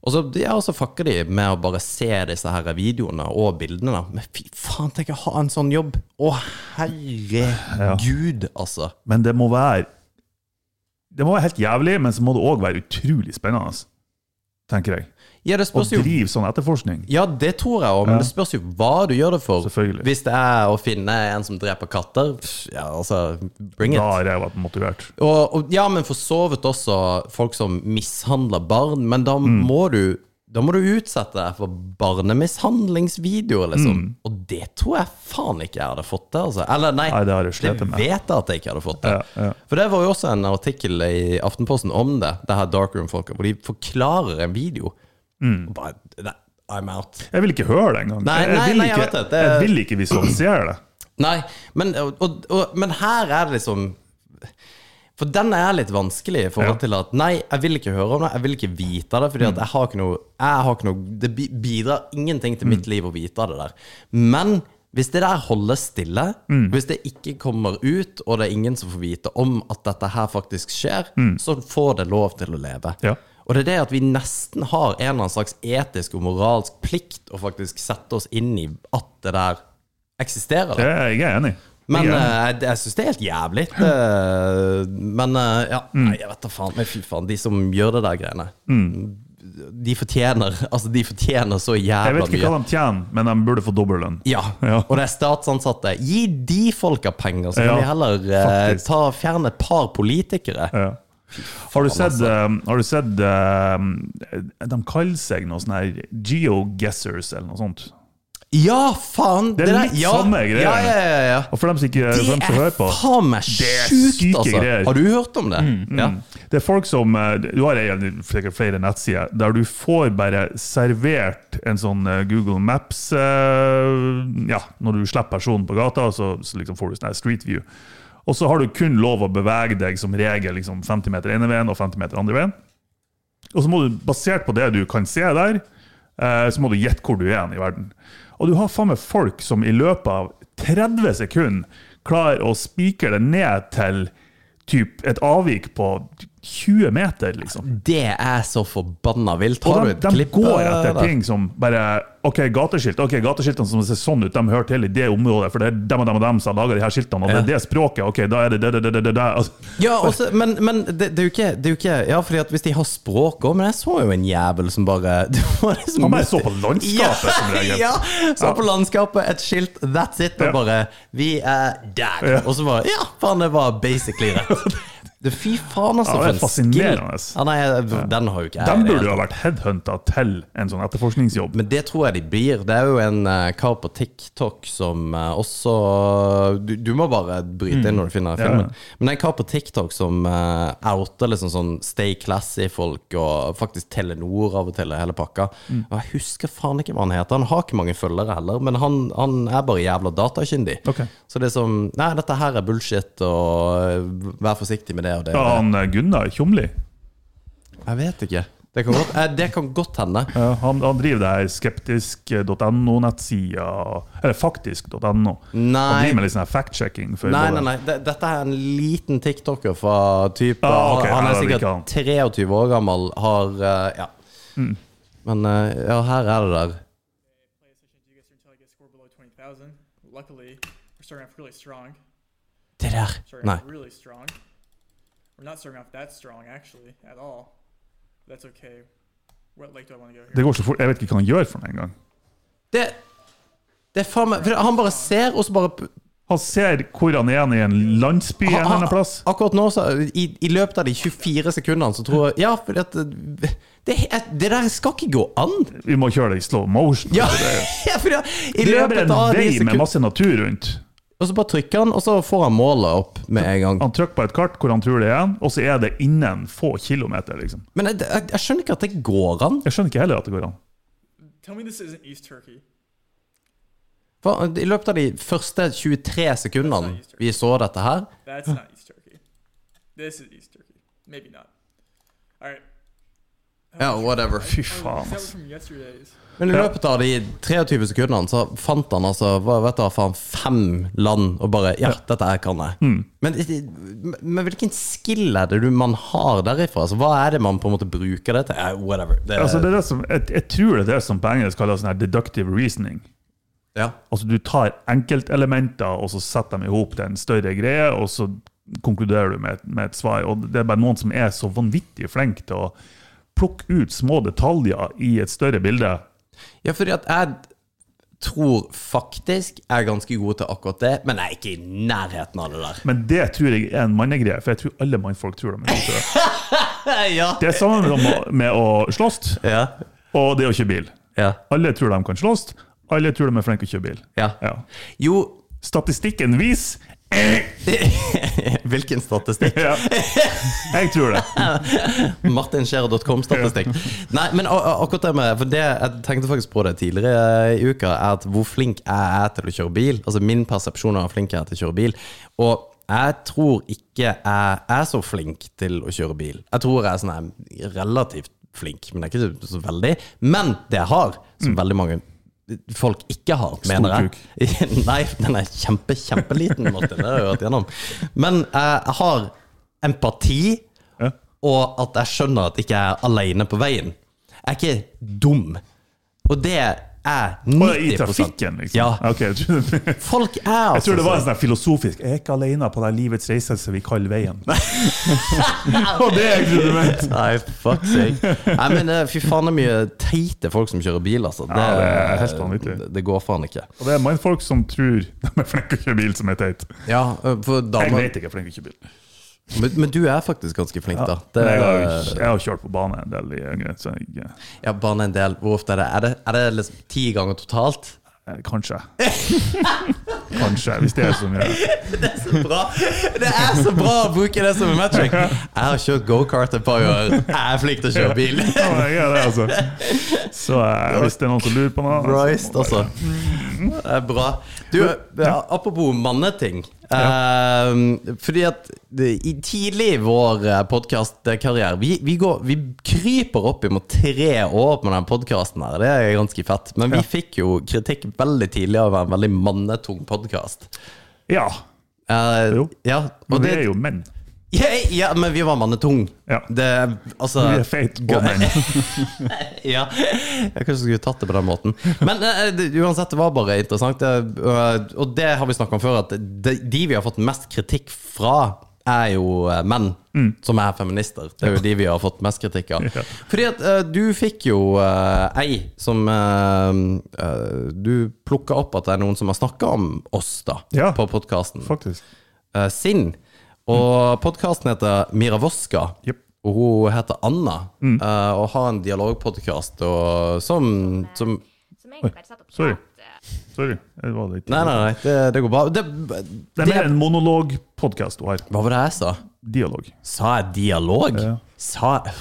[SPEAKER 1] Og så, ja, og så fucker de med å bare se disse her videoene og bildene. da. Men fy faen, tenk å ha en sånn jobb! Å, herregud, altså.
[SPEAKER 2] Men det må være Det må være helt jævlig, men så må det òg være utrolig spennende, tenker jeg.
[SPEAKER 1] Ja, det
[SPEAKER 2] Å
[SPEAKER 1] spørs jo
[SPEAKER 2] drive sånn etterforskning.
[SPEAKER 1] Ja, det tror jeg òg, men det spørs jo hva du gjør det for.
[SPEAKER 2] Selvfølgelig.
[SPEAKER 1] Hvis det er å finne en som dreper katter, pff, ja, altså, bring
[SPEAKER 2] Da
[SPEAKER 1] it.
[SPEAKER 2] har jeg vært motivert.
[SPEAKER 1] Og, og, ja, men for så vidt også folk som mishandler barn, men da
[SPEAKER 2] Mm.
[SPEAKER 1] må du da må du utsette deg for barnemishandlingsvideoer, liksom.
[SPEAKER 2] Mm.
[SPEAKER 1] Og det tror jeg faen ikke jeg hadde fått til, altså. Eller nei,
[SPEAKER 2] Nei, det har jeg slitt med.
[SPEAKER 1] vet jeg at jeg ikke hadde fått til.
[SPEAKER 2] Ja, ja.
[SPEAKER 1] For det var jo også en artikkel i Aftenposten om det, det her Darkroom-folka, hvor de forklarer en video.
[SPEAKER 2] Mm.
[SPEAKER 1] Og bare, nei, I'm out.
[SPEAKER 2] Jeg vil ikke høre det engang.
[SPEAKER 1] Nei,
[SPEAKER 2] jeg,
[SPEAKER 1] nei,
[SPEAKER 2] vil
[SPEAKER 1] nei, jeg
[SPEAKER 2] ikke-
[SPEAKER 1] vet det. Det-
[SPEAKER 2] jeg vil ikke visualisere det.
[SPEAKER 1] Nei, men, og, og, og, men her er det liksom For den er litt vanskelig i forhold
[SPEAKER 2] Ja. Mm.
[SPEAKER 1] til at Nei, jeg vil ikke høre om det, jeg vil ikke vite det, fordi at jeg har ikke noe, jeg har ikke noe Det bi- bidrar ingenting til
[SPEAKER 2] Mm.
[SPEAKER 1] mitt liv å vite det der. Men hvis det der holdes stille,
[SPEAKER 2] Mm.
[SPEAKER 1] hvis det ikke kommer ut, og det er ingen som får vite om at dette her faktisk skjer, så får det lov til å leve.
[SPEAKER 2] Mm. Ja.
[SPEAKER 1] Og det er det at vi nesten har en eller annen slags etisk og moralsk plikt å faktisk sette oss inn i at det der eksisterer. da.
[SPEAKER 2] det jeg er enig.
[SPEAKER 1] Men
[SPEAKER 2] jeg er Mm. enig.
[SPEAKER 1] eh, jeg, jeg syns det er helt jævlig. Det, men eh, ja,
[SPEAKER 2] Mm.
[SPEAKER 1] nei, jeg vet da faen. Men fy faen, de som gjør det der greiene, de fortjener <laughs> Altså, de fortjener så
[SPEAKER 2] Mm. jeg
[SPEAKER 1] jævla
[SPEAKER 2] vet ikke
[SPEAKER 1] mye.
[SPEAKER 2] hva de tjener, men de burde få dobbellønn.
[SPEAKER 1] Ja.
[SPEAKER 2] Ja.
[SPEAKER 1] og det er statsansatte. Gi de folka penger, så kan
[SPEAKER 2] Ja,
[SPEAKER 1] vi heller eh,
[SPEAKER 2] faktisk.
[SPEAKER 1] ta, fjerne et par politikere.
[SPEAKER 2] Ja. Har du sett,
[SPEAKER 1] altså.
[SPEAKER 2] eh, har du sett eh, De kaller seg noe sånn her geoguessers eller noe sånt.
[SPEAKER 1] Ja, faen!
[SPEAKER 2] Det er
[SPEAKER 1] der-
[SPEAKER 2] litt
[SPEAKER 1] ja,
[SPEAKER 2] samme greier.
[SPEAKER 1] Ja, ja, ja, ja.
[SPEAKER 2] Og for dem som ikke for
[SPEAKER 1] Det
[SPEAKER 2] dem sånn som
[SPEAKER 1] er
[SPEAKER 2] hører på
[SPEAKER 1] faen meg
[SPEAKER 2] er
[SPEAKER 1] sjukt,
[SPEAKER 2] syke
[SPEAKER 1] altså!
[SPEAKER 2] greier. Mm,
[SPEAKER 1] Har du hørt om det? Ja.
[SPEAKER 2] Det er folk som eh, Du har en- sikkert flere nettsider der du får bare servert en sånn eh, Google Maps eh, Ja, når du slipper personen på gata, så, så liksom får du sånn her Street View. Og så har du kun lov å bevege deg som regel liksom 50 meter ene veien og 50 meter andre veien. Og så må du, basert på det du kan se der, eh, så må du gjette hvor du er hen i verden. Og du har faen meg folk som i løpet av 30 sekunder klarer å spikre det ned til typ et avvik på 20 meter, liksom.
[SPEAKER 1] Det er så forbanna vilt.
[SPEAKER 2] Og
[SPEAKER 1] Har du
[SPEAKER 2] de,
[SPEAKER 1] et
[SPEAKER 2] de
[SPEAKER 1] klipp?
[SPEAKER 2] går
[SPEAKER 1] eh,
[SPEAKER 2] etter
[SPEAKER 1] der?
[SPEAKER 2] ting som bare OK, gateskilt. ok, Gateskiltene som ser sånn ut, de hører til i det området, for det er dem og dem og dem som lager de her skiltene, og det er det språket. OK, da er det det, det, det, det, det, det. Altså,
[SPEAKER 1] Ja, også, men, men det, det, er jo ikke, det er jo ikke Ja, fordi at hvis de har språk òg Men jeg så jo en jævel som bare <laughs> det var liksom,
[SPEAKER 2] Han bare så på landskapet som regel.
[SPEAKER 1] <laughs> Ja, så på landskapet, et skilt, that's it, og
[SPEAKER 2] Ja.
[SPEAKER 1] bare Vi er der. Og så bare Ja, faen, det var basically
[SPEAKER 2] <laughs>
[SPEAKER 1] rett. Det, fy faen, altså,
[SPEAKER 2] Ja, det er
[SPEAKER 1] for en skill.
[SPEAKER 2] fascinerende.
[SPEAKER 1] Ja, nei, den har jo ikke jeg. i
[SPEAKER 2] de
[SPEAKER 1] det hele
[SPEAKER 2] burde jo ha vært headhunta til en sånn etterforskningsjobb.
[SPEAKER 1] men det tror jeg de blir. Det er jo en eh, kar på TikTok som eh, også du, du må bare bryte
[SPEAKER 2] Mm.
[SPEAKER 1] inn når du finner filmen. Men det er en kar på TikTok som eh, outer liksom sånn Stay Classy-folk og faktisk Telenor av og til, hele pakka.
[SPEAKER 2] Mm.
[SPEAKER 1] Og jeg husker faen ikke hva han heter. Han har ikke mange følgere heller, men han, han er bare jævla datakyndig.
[SPEAKER 2] Ok.
[SPEAKER 1] Så det er som Nei, dette her er bullshit, og eh, vær forsiktig med det og det.
[SPEAKER 2] Ja,
[SPEAKER 1] og det.
[SPEAKER 2] han eh, Gunnar Tjomli.
[SPEAKER 1] Jeg vet ikke. Det kan godt, eh, det kan godt hende.
[SPEAKER 2] Ja, han, han driver det her skeptisk.no-nettsida, eller faktisk.no. Han
[SPEAKER 1] Nei.
[SPEAKER 2] driver med litt sånn her fact-checking. for
[SPEAKER 1] Nei,
[SPEAKER 2] både-
[SPEAKER 1] nei, nei. De- Dette er en liten tiktoker fra type
[SPEAKER 2] Ah, ok.
[SPEAKER 1] Han
[SPEAKER 2] Ja,
[SPEAKER 1] er
[SPEAKER 2] det liker han. Mm.
[SPEAKER 1] sikkert 23 år gammel, har eh, Ja. Men eh, ja, her er det der.
[SPEAKER 4] play a session do you guys until I get score below 20,000. Luckily, we're starting off really strong.
[SPEAKER 1] Det der.
[SPEAKER 4] Starting
[SPEAKER 1] Nei.
[SPEAKER 4] off really strong. We're not starting off that strong, actually, at all. That's okay. What lake do I want to go
[SPEAKER 2] Det
[SPEAKER 4] here?
[SPEAKER 2] går så fort. Jeg vet ikke hva han gjør for noe engang.
[SPEAKER 1] Det, det er faen meg for Han bare ser, og så bare
[SPEAKER 2] Han ser hvor han er i en landsby en eller annen plass.
[SPEAKER 1] Akkurat nå, så, i, i løpet av de 24 sekundene, så tror jeg Ja, for at det, det, det der skal ikke gå an!
[SPEAKER 2] Vi må kjøre det i slow motion.
[SPEAKER 1] <laughs> Ja, ja for ja, i
[SPEAKER 2] Det er bare
[SPEAKER 1] løpet av
[SPEAKER 2] en
[SPEAKER 1] de
[SPEAKER 2] vei med
[SPEAKER 1] sekundene
[SPEAKER 2] masse natur rundt.
[SPEAKER 1] Og så bare trykker han, og så får han målet opp med en gang.
[SPEAKER 2] Han trykker på et kart hvor han tror det er, og så er det innen få kilometer. liksom.
[SPEAKER 1] Men jeg, jeg, jeg skjønner ikke at det går an.
[SPEAKER 2] Jeg skjønner ikke heller at det går an.
[SPEAKER 4] Tell me this isn't East Turkey.
[SPEAKER 1] For I løpet av de første 23 sekundene vi så dette her
[SPEAKER 4] That's not East Turkey. This is East Turkey. Maybe not. All right.
[SPEAKER 1] Ja, whatever.
[SPEAKER 2] Fy
[SPEAKER 4] Oh,
[SPEAKER 2] faen,
[SPEAKER 4] that was
[SPEAKER 2] ass.
[SPEAKER 4] from yesterday's.
[SPEAKER 1] Men i løpet av de 23 sekundene så fant han altså hva vet du, hva faen, fem land og bare Ja, dette her kan jeg.
[SPEAKER 2] Mm.
[SPEAKER 1] Men, men hvilken skill er det du man har derifra? Altså, hva er det man på en måte bruker det til? Eh, Whatever. Det,
[SPEAKER 2] Altså, det er det som, jeg, jeg tror det er det som på engelsk kalles sånn her deductive reasoning.
[SPEAKER 1] ja.
[SPEAKER 2] Altså Du tar enkeltelementer og så setter dem i hop til en større greie, og så konkluderer du med, et- med et svar. Og Det er bare noen som er så vanvittig flink til å plukke ut små detaljer i et større bilde.
[SPEAKER 1] ja, fordi at jeg tror faktisk jeg er ganske god til akkurat det, men jeg er ikke i nærheten av det
[SPEAKER 2] <laughs>
[SPEAKER 1] der.
[SPEAKER 2] Men det tror jeg er en mannegreie, for jeg tror alle mannfolk tror de er gode til det.
[SPEAKER 1] Ja.
[SPEAKER 2] Det er sammen med, å- med å slåss
[SPEAKER 1] Ja.
[SPEAKER 2] og det å kjøre bil.
[SPEAKER 1] Ja.
[SPEAKER 2] Alle tror de kan slåss, alle tror de er flinke til å kjøre bil.
[SPEAKER 1] ja.
[SPEAKER 2] Ja.
[SPEAKER 1] Jo <laughs>
[SPEAKER 2] Statistikken viser
[SPEAKER 1] Hvilken statistikk?
[SPEAKER 2] ja. Jeg tror
[SPEAKER 1] <laughs>
[SPEAKER 2] det.
[SPEAKER 1] Martinskjærer.com-statistikk. Nei, men a- a- akkurat det med For det, jeg tenkte faktisk på det tidligere i uka, er at hvor flink jeg er til å kjøre bil. Altså min persepsjon av hvor flink jeg er til å kjøre bil. Og jeg tror ikke jeg er så flink til å kjøre bil. Jeg tror jeg er sånn her relativt flink, men jeg er ikke så veldig. Men det jeg har, som veldig mange folk ikke har, mener jeg
[SPEAKER 2] kuk.
[SPEAKER 1] <laughs> Nei, den er kjempe, kjempeliten, Martin. Det har jeg hørt gjennom. Men eh, jeg har empati,
[SPEAKER 2] Ja.
[SPEAKER 1] og at jeg skjønner at jeg ikke er alene på veien. Jeg er ikke dum. Og det er 90
[SPEAKER 2] Og I trafikken, liksom.
[SPEAKER 1] Ja.
[SPEAKER 2] Ok, jeg tror-
[SPEAKER 1] Folk er
[SPEAKER 2] Jeg tror det var en
[SPEAKER 1] sånn.
[SPEAKER 2] sånn her filosofisk Jeg er ikke alene på den livets reise som vi kaller veien. <laughs> Og det jeg trodde du mente!
[SPEAKER 1] <laughs> Nei, fuck sake. Nei, men eh, fy faen, det er mye teite folk som kjører bil, altså. Det,
[SPEAKER 2] Ja, det er helt vanvittig.
[SPEAKER 1] det- Det går faen ikke.
[SPEAKER 2] Og det er mannfolk som tror de er flinke til å kjøre bil, som er teit.
[SPEAKER 1] Ja, eh, for
[SPEAKER 2] Jeg
[SPEAKER 1] damer
[SPEAKER 2] vet ikke jeg er flink til å kjøre bil.
[SPEAKER 1] men, men du er faktisk ganske flink, da.
[SPEAKER 2] Men
[SPEAKER 1] Det,
[SPEAKER 2] jeg, har, jo- jeg har kjørt på bane en del i yngre, så jeg,
[SPEAKER 1] ja, bare en del. Hvor ofte er det? Er det, er det liksom ti ganger totalt?
[SPEAKER 2] eh,
[SPEAKER 1] <laughs>
[SPEAKER 2] kanskje. Kanskje, hvis det er så mye.
[SPEAKER 1] Bra. Det er så bra å bruke det som en metric. Jeg har kjørt gokart et par år. Jeg er flink til å kjøre bil.
[SPEAKER 2] Ja, men jeg er det, altså. Så eh, hvis det er noen som lurer på noe
[SPEAKER 1] Christ,
[SPEAKER 2] så må
[SPEAKER 1] altså.
[SPEAKER 2] bare-
[SPEAKER 1] Det er bra. Du, ja, apropos manneting. Eh, fordi at det, i tidlig i vår podkastkarriere vi, vi, går- vi kryper opp imot tre år på denne podkasten her. Det er ganske fett. Men vi fikk jo kritikk veldig tidlig av å være en veldig mannetung podkast.
[SPEAKER 2] Ja. Jo.
[SPEAKER 1] Ja, og
[SPEAKER 2] Men vi
[SPEAKER 1] det,
[SPEAKER 2] er jo menn.
[SPEAKER 1] ja, ja, men vi var mannetung.
[SPEAKER 2] Ja.
[SPEAKER 1] Det, altså,
[SPEAKER 2] Vi er feite og menn.
[SPEAKER 1] Ja, jeg kanskje skulle tatt det på den måten. Men eh, det- uansett, det var bare interessant. Det, eh, og det har vi snakka om før, at de, de vi har fått mest kritikk fra, er jo eh, menn
[SPEAKER 2] Mm.
[SPEAKER 1] som er feminister. Det er jo de vi har fått mest kritikk av. Fordi at eh, du fikk jo eh, ei som eh, eh, Du plukka opp at det er noen som har snakka om oss, da,
[SPEAKER 2] Ja.
[SPEAKER 1] på podkasten
[SPEAKER 2] Faktisk.
[SPEAKER 1] eh, sin. Og podkasten heter Miravoska,
[SPEAKER 2] Mm. Jep. Mm.
[SPEAKER 1] og hun heter Anna. eh, og har en dialogpodkast og som, som
[SPEAKER 5] som egentlig bare satt og
[SPEAKER 2] sorry.
[SPEAKER 5] pratet.
[SPEAKER 2] Sorry. Det var litt
[SPEAKER 1] Nei, nei, nei, det, det går bra. Det,
[SPEAKER 2] Det er mer en monologpodkast du har.
[SPEAKER 1] hva var det jeg sa?
[SPEAKER 2] Dialog.
[SPEAKER 1] Sa jeg dialog?
[SPEAKER 2] Ja.
[SPEAKER 1] Sa jeg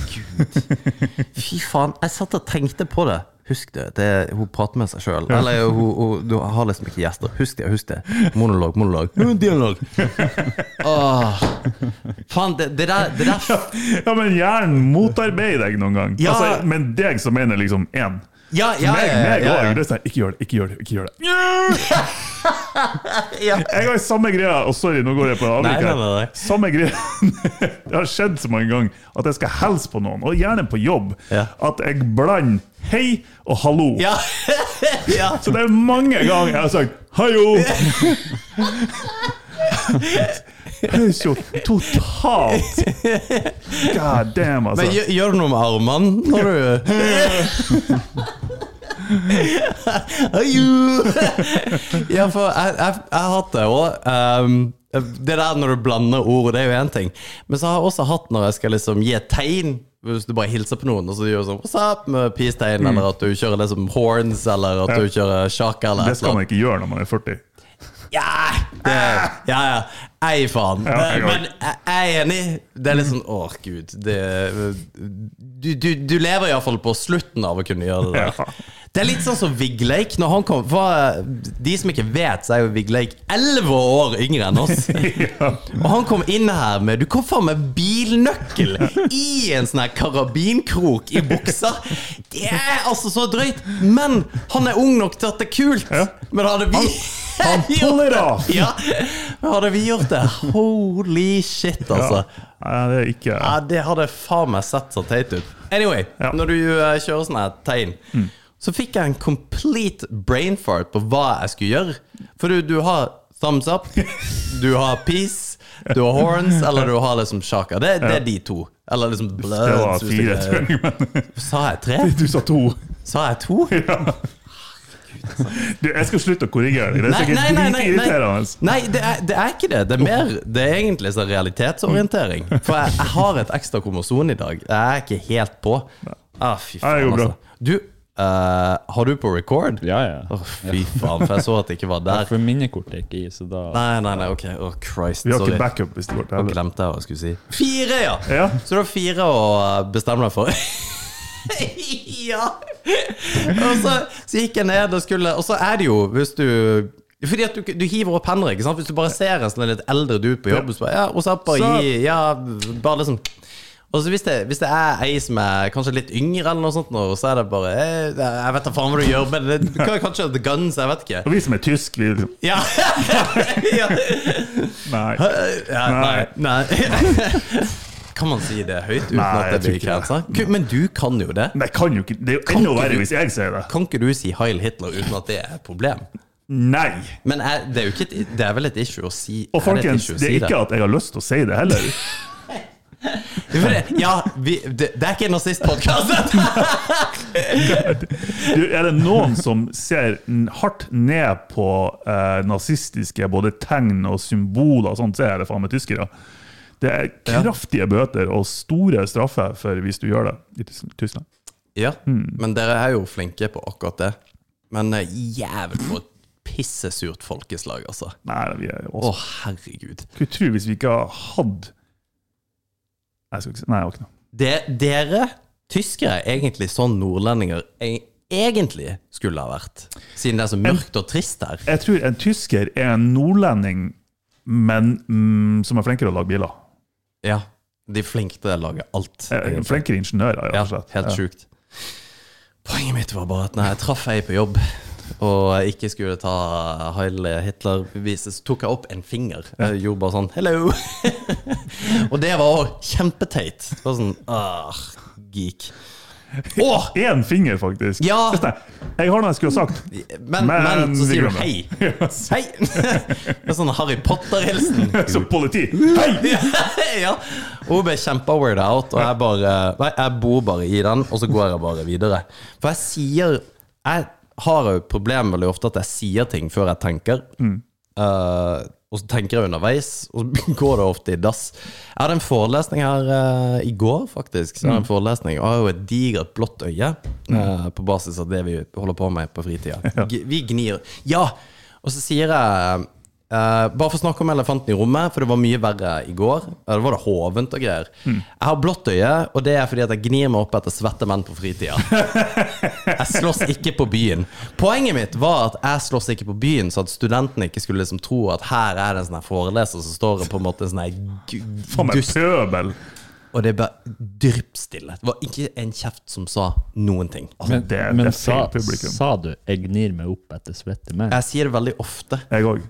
[SPEAKER 1] Åh, Gud. Fy faen. Jeg satt og tenkte på det. Husk det. det er, hun prater med seg sjøl. Eller hun, hun, du har liksom ikke gjester. Husk det, husk det. Monolog, monolog. Jo,
[SPEAKER 2] <laughs>
[SPEAKER 1] Dialog. Åh. Faen, det, det der, det der
[SPEAKER 2] <laughs> Ja, men hjernen motarbeider deg noen gang.
[SPEAKER 1] Ja.
[SPEAKER 2] Altså, men deg som mener liksom én.
[SPEAKER 1] Ja, ja,
[SPEAKER 2] meg,
[SPEAKER 1] ja,
[SPEAKER 2] meg
[SPEAKER 1] ja,
[SPEAKER 2] også,
[SPEAKER 1] ja.
[SPEAKER 2] Det er sånn, ikke gjør det, ikke gjør det. ikke gjør det
[SPEAKER 1] Ja.
[SPEAKER 2] <laughs> Jeg har samme greia, og sorry, nå går jeg på
[SPEAKER 1] Nei,
[SPEAKER 2] avvik
[SPEAKER 1] nei,
[SPEAKER 2] her.
[SPEAKER 1] nei, nei.
[SPEAKER 2] Samme greia <laughs> Det har skjedd så mange ganger at jeg skal hilse på noen, og gjerne på jobb,
[SPEAKER 1] Ja.
[SPEAKER 2] at jeg blander hei og hallo.
[SPEAKER 1] Ja. ja.
[SPEAKER 2] Så det er mange ganger jeg har sagt hallo! Det høres jo totalt God damn, altså.
[SPEAKER 1] Men <laughs> gjør, gjør du noe med armene når
[SPEAKER 2] <laughs>
[SPEAKER 1] du Ajo! <laughs> ja, for jeg, jeg, jeg har hatt det òg. det der når du blander ord, det er jo én ting. Men så har jeg også hatt når jeg skal liksom gi et tegn. Hvis du bare hilser på noen og så gjør du sånn What's up? med
[SPEAKER 2] Mm.
[SPEAKER 1] peace-tegn, eller at du kjører liksom horns, eller at du kjører sjakk, eller
[SPEAKER 2] det
[SPEAKER 1] et
[SPEAKER 2] skal
[SPEAKER 1] eller
[SPEAKER 2] man
[SPEAKER 1] annet.
[SPEAKER 2] ikke gjøre når man er 40.
[SPEAKER 1] Ja, det, ja, ja. Ei, faen.
[SPEAKER 2] Ja, jeg
[SPEAKER 1] Men
[SPEAKER 2] også.
[SPEAKER 1] jeg jeg er enig. Det er litt sånn Åh, gud. Det, du, du, du lever iallfall på slutten av å kunne gjøre det
[SPEAKER 2] Ja.
[SPEAKER 1] der. Det er litt sånn som Vigleik. Når han kom, for eh, de som ikke vet, så er jo Vigleik elleve år yngre enn oss.
[SPEAKER 2] <laughs> <laughs> Ja.
[SPEAKER 1] Og han kom inn her med Du kom faen med bilnøkkel i en sånn her karabinkrok i buksa! Det er altså så drøyt! Men han er ung nok til at det er kult!
[SPEAKER 2] Ja.
[SPEAKER 1] Men hadde vi
[SPEAKER 2] han
[SPEAKER 1] <laughs> gjort
[SPEAKER 2] puller
[SPEAKER 1] det-
[SPEAKER 2] off.
[SPEAKER 1] Ja, men hadde vi gjort det Holy shit, altså.
[SPEAKER 2] Nei, det er ikke
[SPEAKER 1] Ja, det hadde faen meg sett så teit ut. Anyway,
[SPEAKER 2] Ja. Mm.
[SPEAKER 1] når du eh, kjører sånne her tegn, så fikk jeg en complete brain fart på hva jeg skulle gjøre. For du, du har thumbs up, du har peace, du har horns, eller du har liksom shaka. Det, det er de to. Eller liksom
[SPEAKER 2] Det var
[SPEAKER 1] bloods. hvis
[SPEAKER 2] fire,
[SPEAKER 1] ikke-
[SPEAKER 2] tror jeg. Men
[SPEAKER 1] Sa jeg tre?
[SPEAKER 2] du sa to.
[SPEAKER 1] Sa jeg to?
[SPEAKER 2] <laughs> Du, jeg skal slutte å korrigere deg. Det er sikkert dritirriterende.
[SPEAKER 1] Nei, det er, det er ikke det. Det er mer Det er egentlig sånn
[SPEAKER 2] <laughs>
[SPEAKER 1] realitetsorientering. For jeg, jeg har et ekstra kromosom i dag. Jeg er ikke helt på. Ah, fy
[SPEAKER 2] Ja, det
[SPEAKER 1] faen,
[SPEAKER 2] går bra.
[SPEAKER 1] altså. Du, eh, har du på record?
[SPEAKER 3] Ja, ja.
[SPEAKER 1] Åh, fy faen, for jeg så at det ikke var der.
[SPEAKER 3] For minnekortet er ikke i, så da
[SPEAKER 1] Nei, nei, nei, ok. Åh, Christ.
[SPEAKER 2] Vi har
[SPEAKER 1] Sorry.
[SPEAKER 2] ikke backup hvis det går til helvete.
[SPEAKER 1] Glemte jeg hva jeg skulle si. Fire, ja!
[SPEAKER 2] Ja.
[SPEAKER 1] Så det var fire å eh, bestemme deg for. <laughs> ja! Og så, så gikk jeg ned og skulle Og så er det jo, hvis du fordi at du, du hiver opp hender. ikke sant? Hvis du bare ser en sånn litt eldre dude på jobb og så bare, ja, og så bare,
[SPEAKER 2] Så-
[SPEAKER 1] gi, ja, bare liksom Og så hvis det, hvis det er ei som er kanskje litt yngre, eller noe sånt, nå, så er det bare eh, Jeg vet da faen hva du gjør, men det, kanskje The Guns, jeg vet ikke.
[SPEAKER 2] Og vi som er tysk, vi liksom
[SPEAKER 1] Ja. <laughs> ja.
[SPEAKER 2] Nei.
[SPEAKER 1] Ja, nei. nei. <laughs> Kan man si det høyt uten
[SPEAKER 2] Nei,
[SPEAKER 1] at det
[SPEAKER 2] jeg tror
[SPEAKER 1] blir
[SPEAKER 2] ikke det.
[SPEAKER 1] krensa? Men du kan jo det.
[SPEAKER 2] Men jeg kan jo ikke Det er jo
[SPEAKER 1] Kan
[SPEAKER 2] enda
[SPEAKER 1] ikke
[SPEAKER 2] verre
[SPEAKER 1] du-
[SPEAKER 2] hvis jeg sier det.
[SPEAKER 1] Kan ikke du si Heil Hitler uten at det er et problem?
[SPEAKER 2] Nei.
[SPEAKER 1] Men er, det, er jo ikke et, det er vel et issue å si er
[SPEAKER 2] Og
[SPEAKER 1] det et
[SPEAKER 2] folkens,
[SPEAKER 1] issue å
[SPEAKER 2] det er
[SPEAKER 1] si
[SPEAKER 2] ikke at jeg har lyst til å si det heller.
[SPEAKER 1] <laughs> For det- Ja, vi, det, det er ikke en
[SPEAKER 2] <laughs>
[SPEAKER 1] nazistpodkast!
[SPEAKER 2] Du, er det noen som ser n- hardt ned på eh, nazistiske både tegn og symboler og sånt, så er det faen meg tyskere. Det er kraftige bøter og store straffer for hvis du gjør det i Tys- Tyskland. Hmm,
[SPEAKER 1] Ja, men dere er jo flinke på akkurat det. Men eh, jævlig for et pissesurt folkeslag, altså.
[SPEAKER 2] Nei, vi er
[SPEAKER 1] Å,
[SPEAKER 2] også
[SPEAKER 1] herregud.
[SPEAKER 2] Skulle tro hvis vi ikke hadde Nei, jeg skal ikke si Nei, jeg har ikke noe.
[SPEAKER 1] det, Dere tyskere er egentlig sånn nordlendinger e- egentlig skulle ha vært. Siden det er så mørkt og trist her.
[SPEAKER 2] Jeg tror en tysker er en nordlending, men mm, som er flinkere til å lage biler.
[SPEAKER 1] Ja, De er flinke til å lage alt.
[SPEAKER 2] Eh,
[SPEAKER 1] egentlig.
[SPEAKER 2] Flinkere ingeniører, rett
[SPEAKER 1] Ja,
[SPEAKER 2] og slett.
[SPEAKER 1] helt sjukt. Poenget mitt var bare at når jeg traff ei på jobb og ikke skulle ta Heil Hitler-beviset, så tok jeg opp en finger. Jeg gjorde bare sånn 'hello'. <laughs> og det var også kjempeteit. Det var sånn ah, geek. Åh!
[SPEAKER 2] Én finger, faktisk.
[SPEAKER 1] Ja.
[SPEAKER 2] Just det. Jeg har noe jeg skulle ha sagt.
[SPEAKER 1] Men, men,
[SPEAKER 2] Men
[SPEAKER 1] så
[SPEAKER 2] vi
[SPEAKER 1] sier du
[SPEAKER 2] glemmer. <laughs>
[SPEAKER 1] 'hei'.
[SPEAKER 2] Yes.
[SPEAKER 1] Hei! <laughs> Det er sånn Harry
[SPEAKER 2] <laughs>
[SPEAKER 1] Potter-hilsen.
[SPEAKER 2] Som politi. Hei!
[SPEAKER 1] <laughs> ja. Hun ble kjempeweirda out, og jeg bare Nei, jeg bor bare i den, og så går jeg bare videre. For jeg sier Jeg har jo problem veldig ofte at jeg sier ting før jeg tenker. Eh, og så tenker jeg underveis, og så <laughs> går det ofte i dass. Jeg hadde en forelesning her eh, i går, faktisk. Så jeg hadde en forelesning Og jeg har jo et digert blått øye eh, på basis av det vi holder på med på fritida. G- Vi gnir. Ja! Og så sier jeg eh, bare for å snakke om elefanten i rommet, for det var mye verre i går. Ja, Da var det hovent
[SPEAKER 2] Hmm. <laughs>
[SPEAKER 1] og greier. Jeg har blått øye, og det er fordi at jeg gnir meg opp etter svette menn på fritida. Jeg slåss ikke på byen. Poenget mitt var at jeg slåss ikke på byen, så at studentene ikke skulle liksom tro at her er det en sånn her foreleser som står og på en måte en sånn her gu-
[SPEAKER 2] Faen meg
[SPEAKER 1] gust.
[SPEAKER 2] pøbel!
[SPEAKER 1] Og det er bare dryppstille. Det var ikke en kjeft som sa noen ting.
[SPEAKER 2] Altså,
[SPEAKER 3] Men,
[SPEAKER 2] det, det er
[SPEAKER 3] men sa,
[SPEAKER 2] feil publikum.
[SPEAKER 3] sa du 'jeg gnir meg opp etter svette menn'?
[SPEAKER 1] Jeg sier det veldig ofte,
[SPEAKER 2] Jeg òg.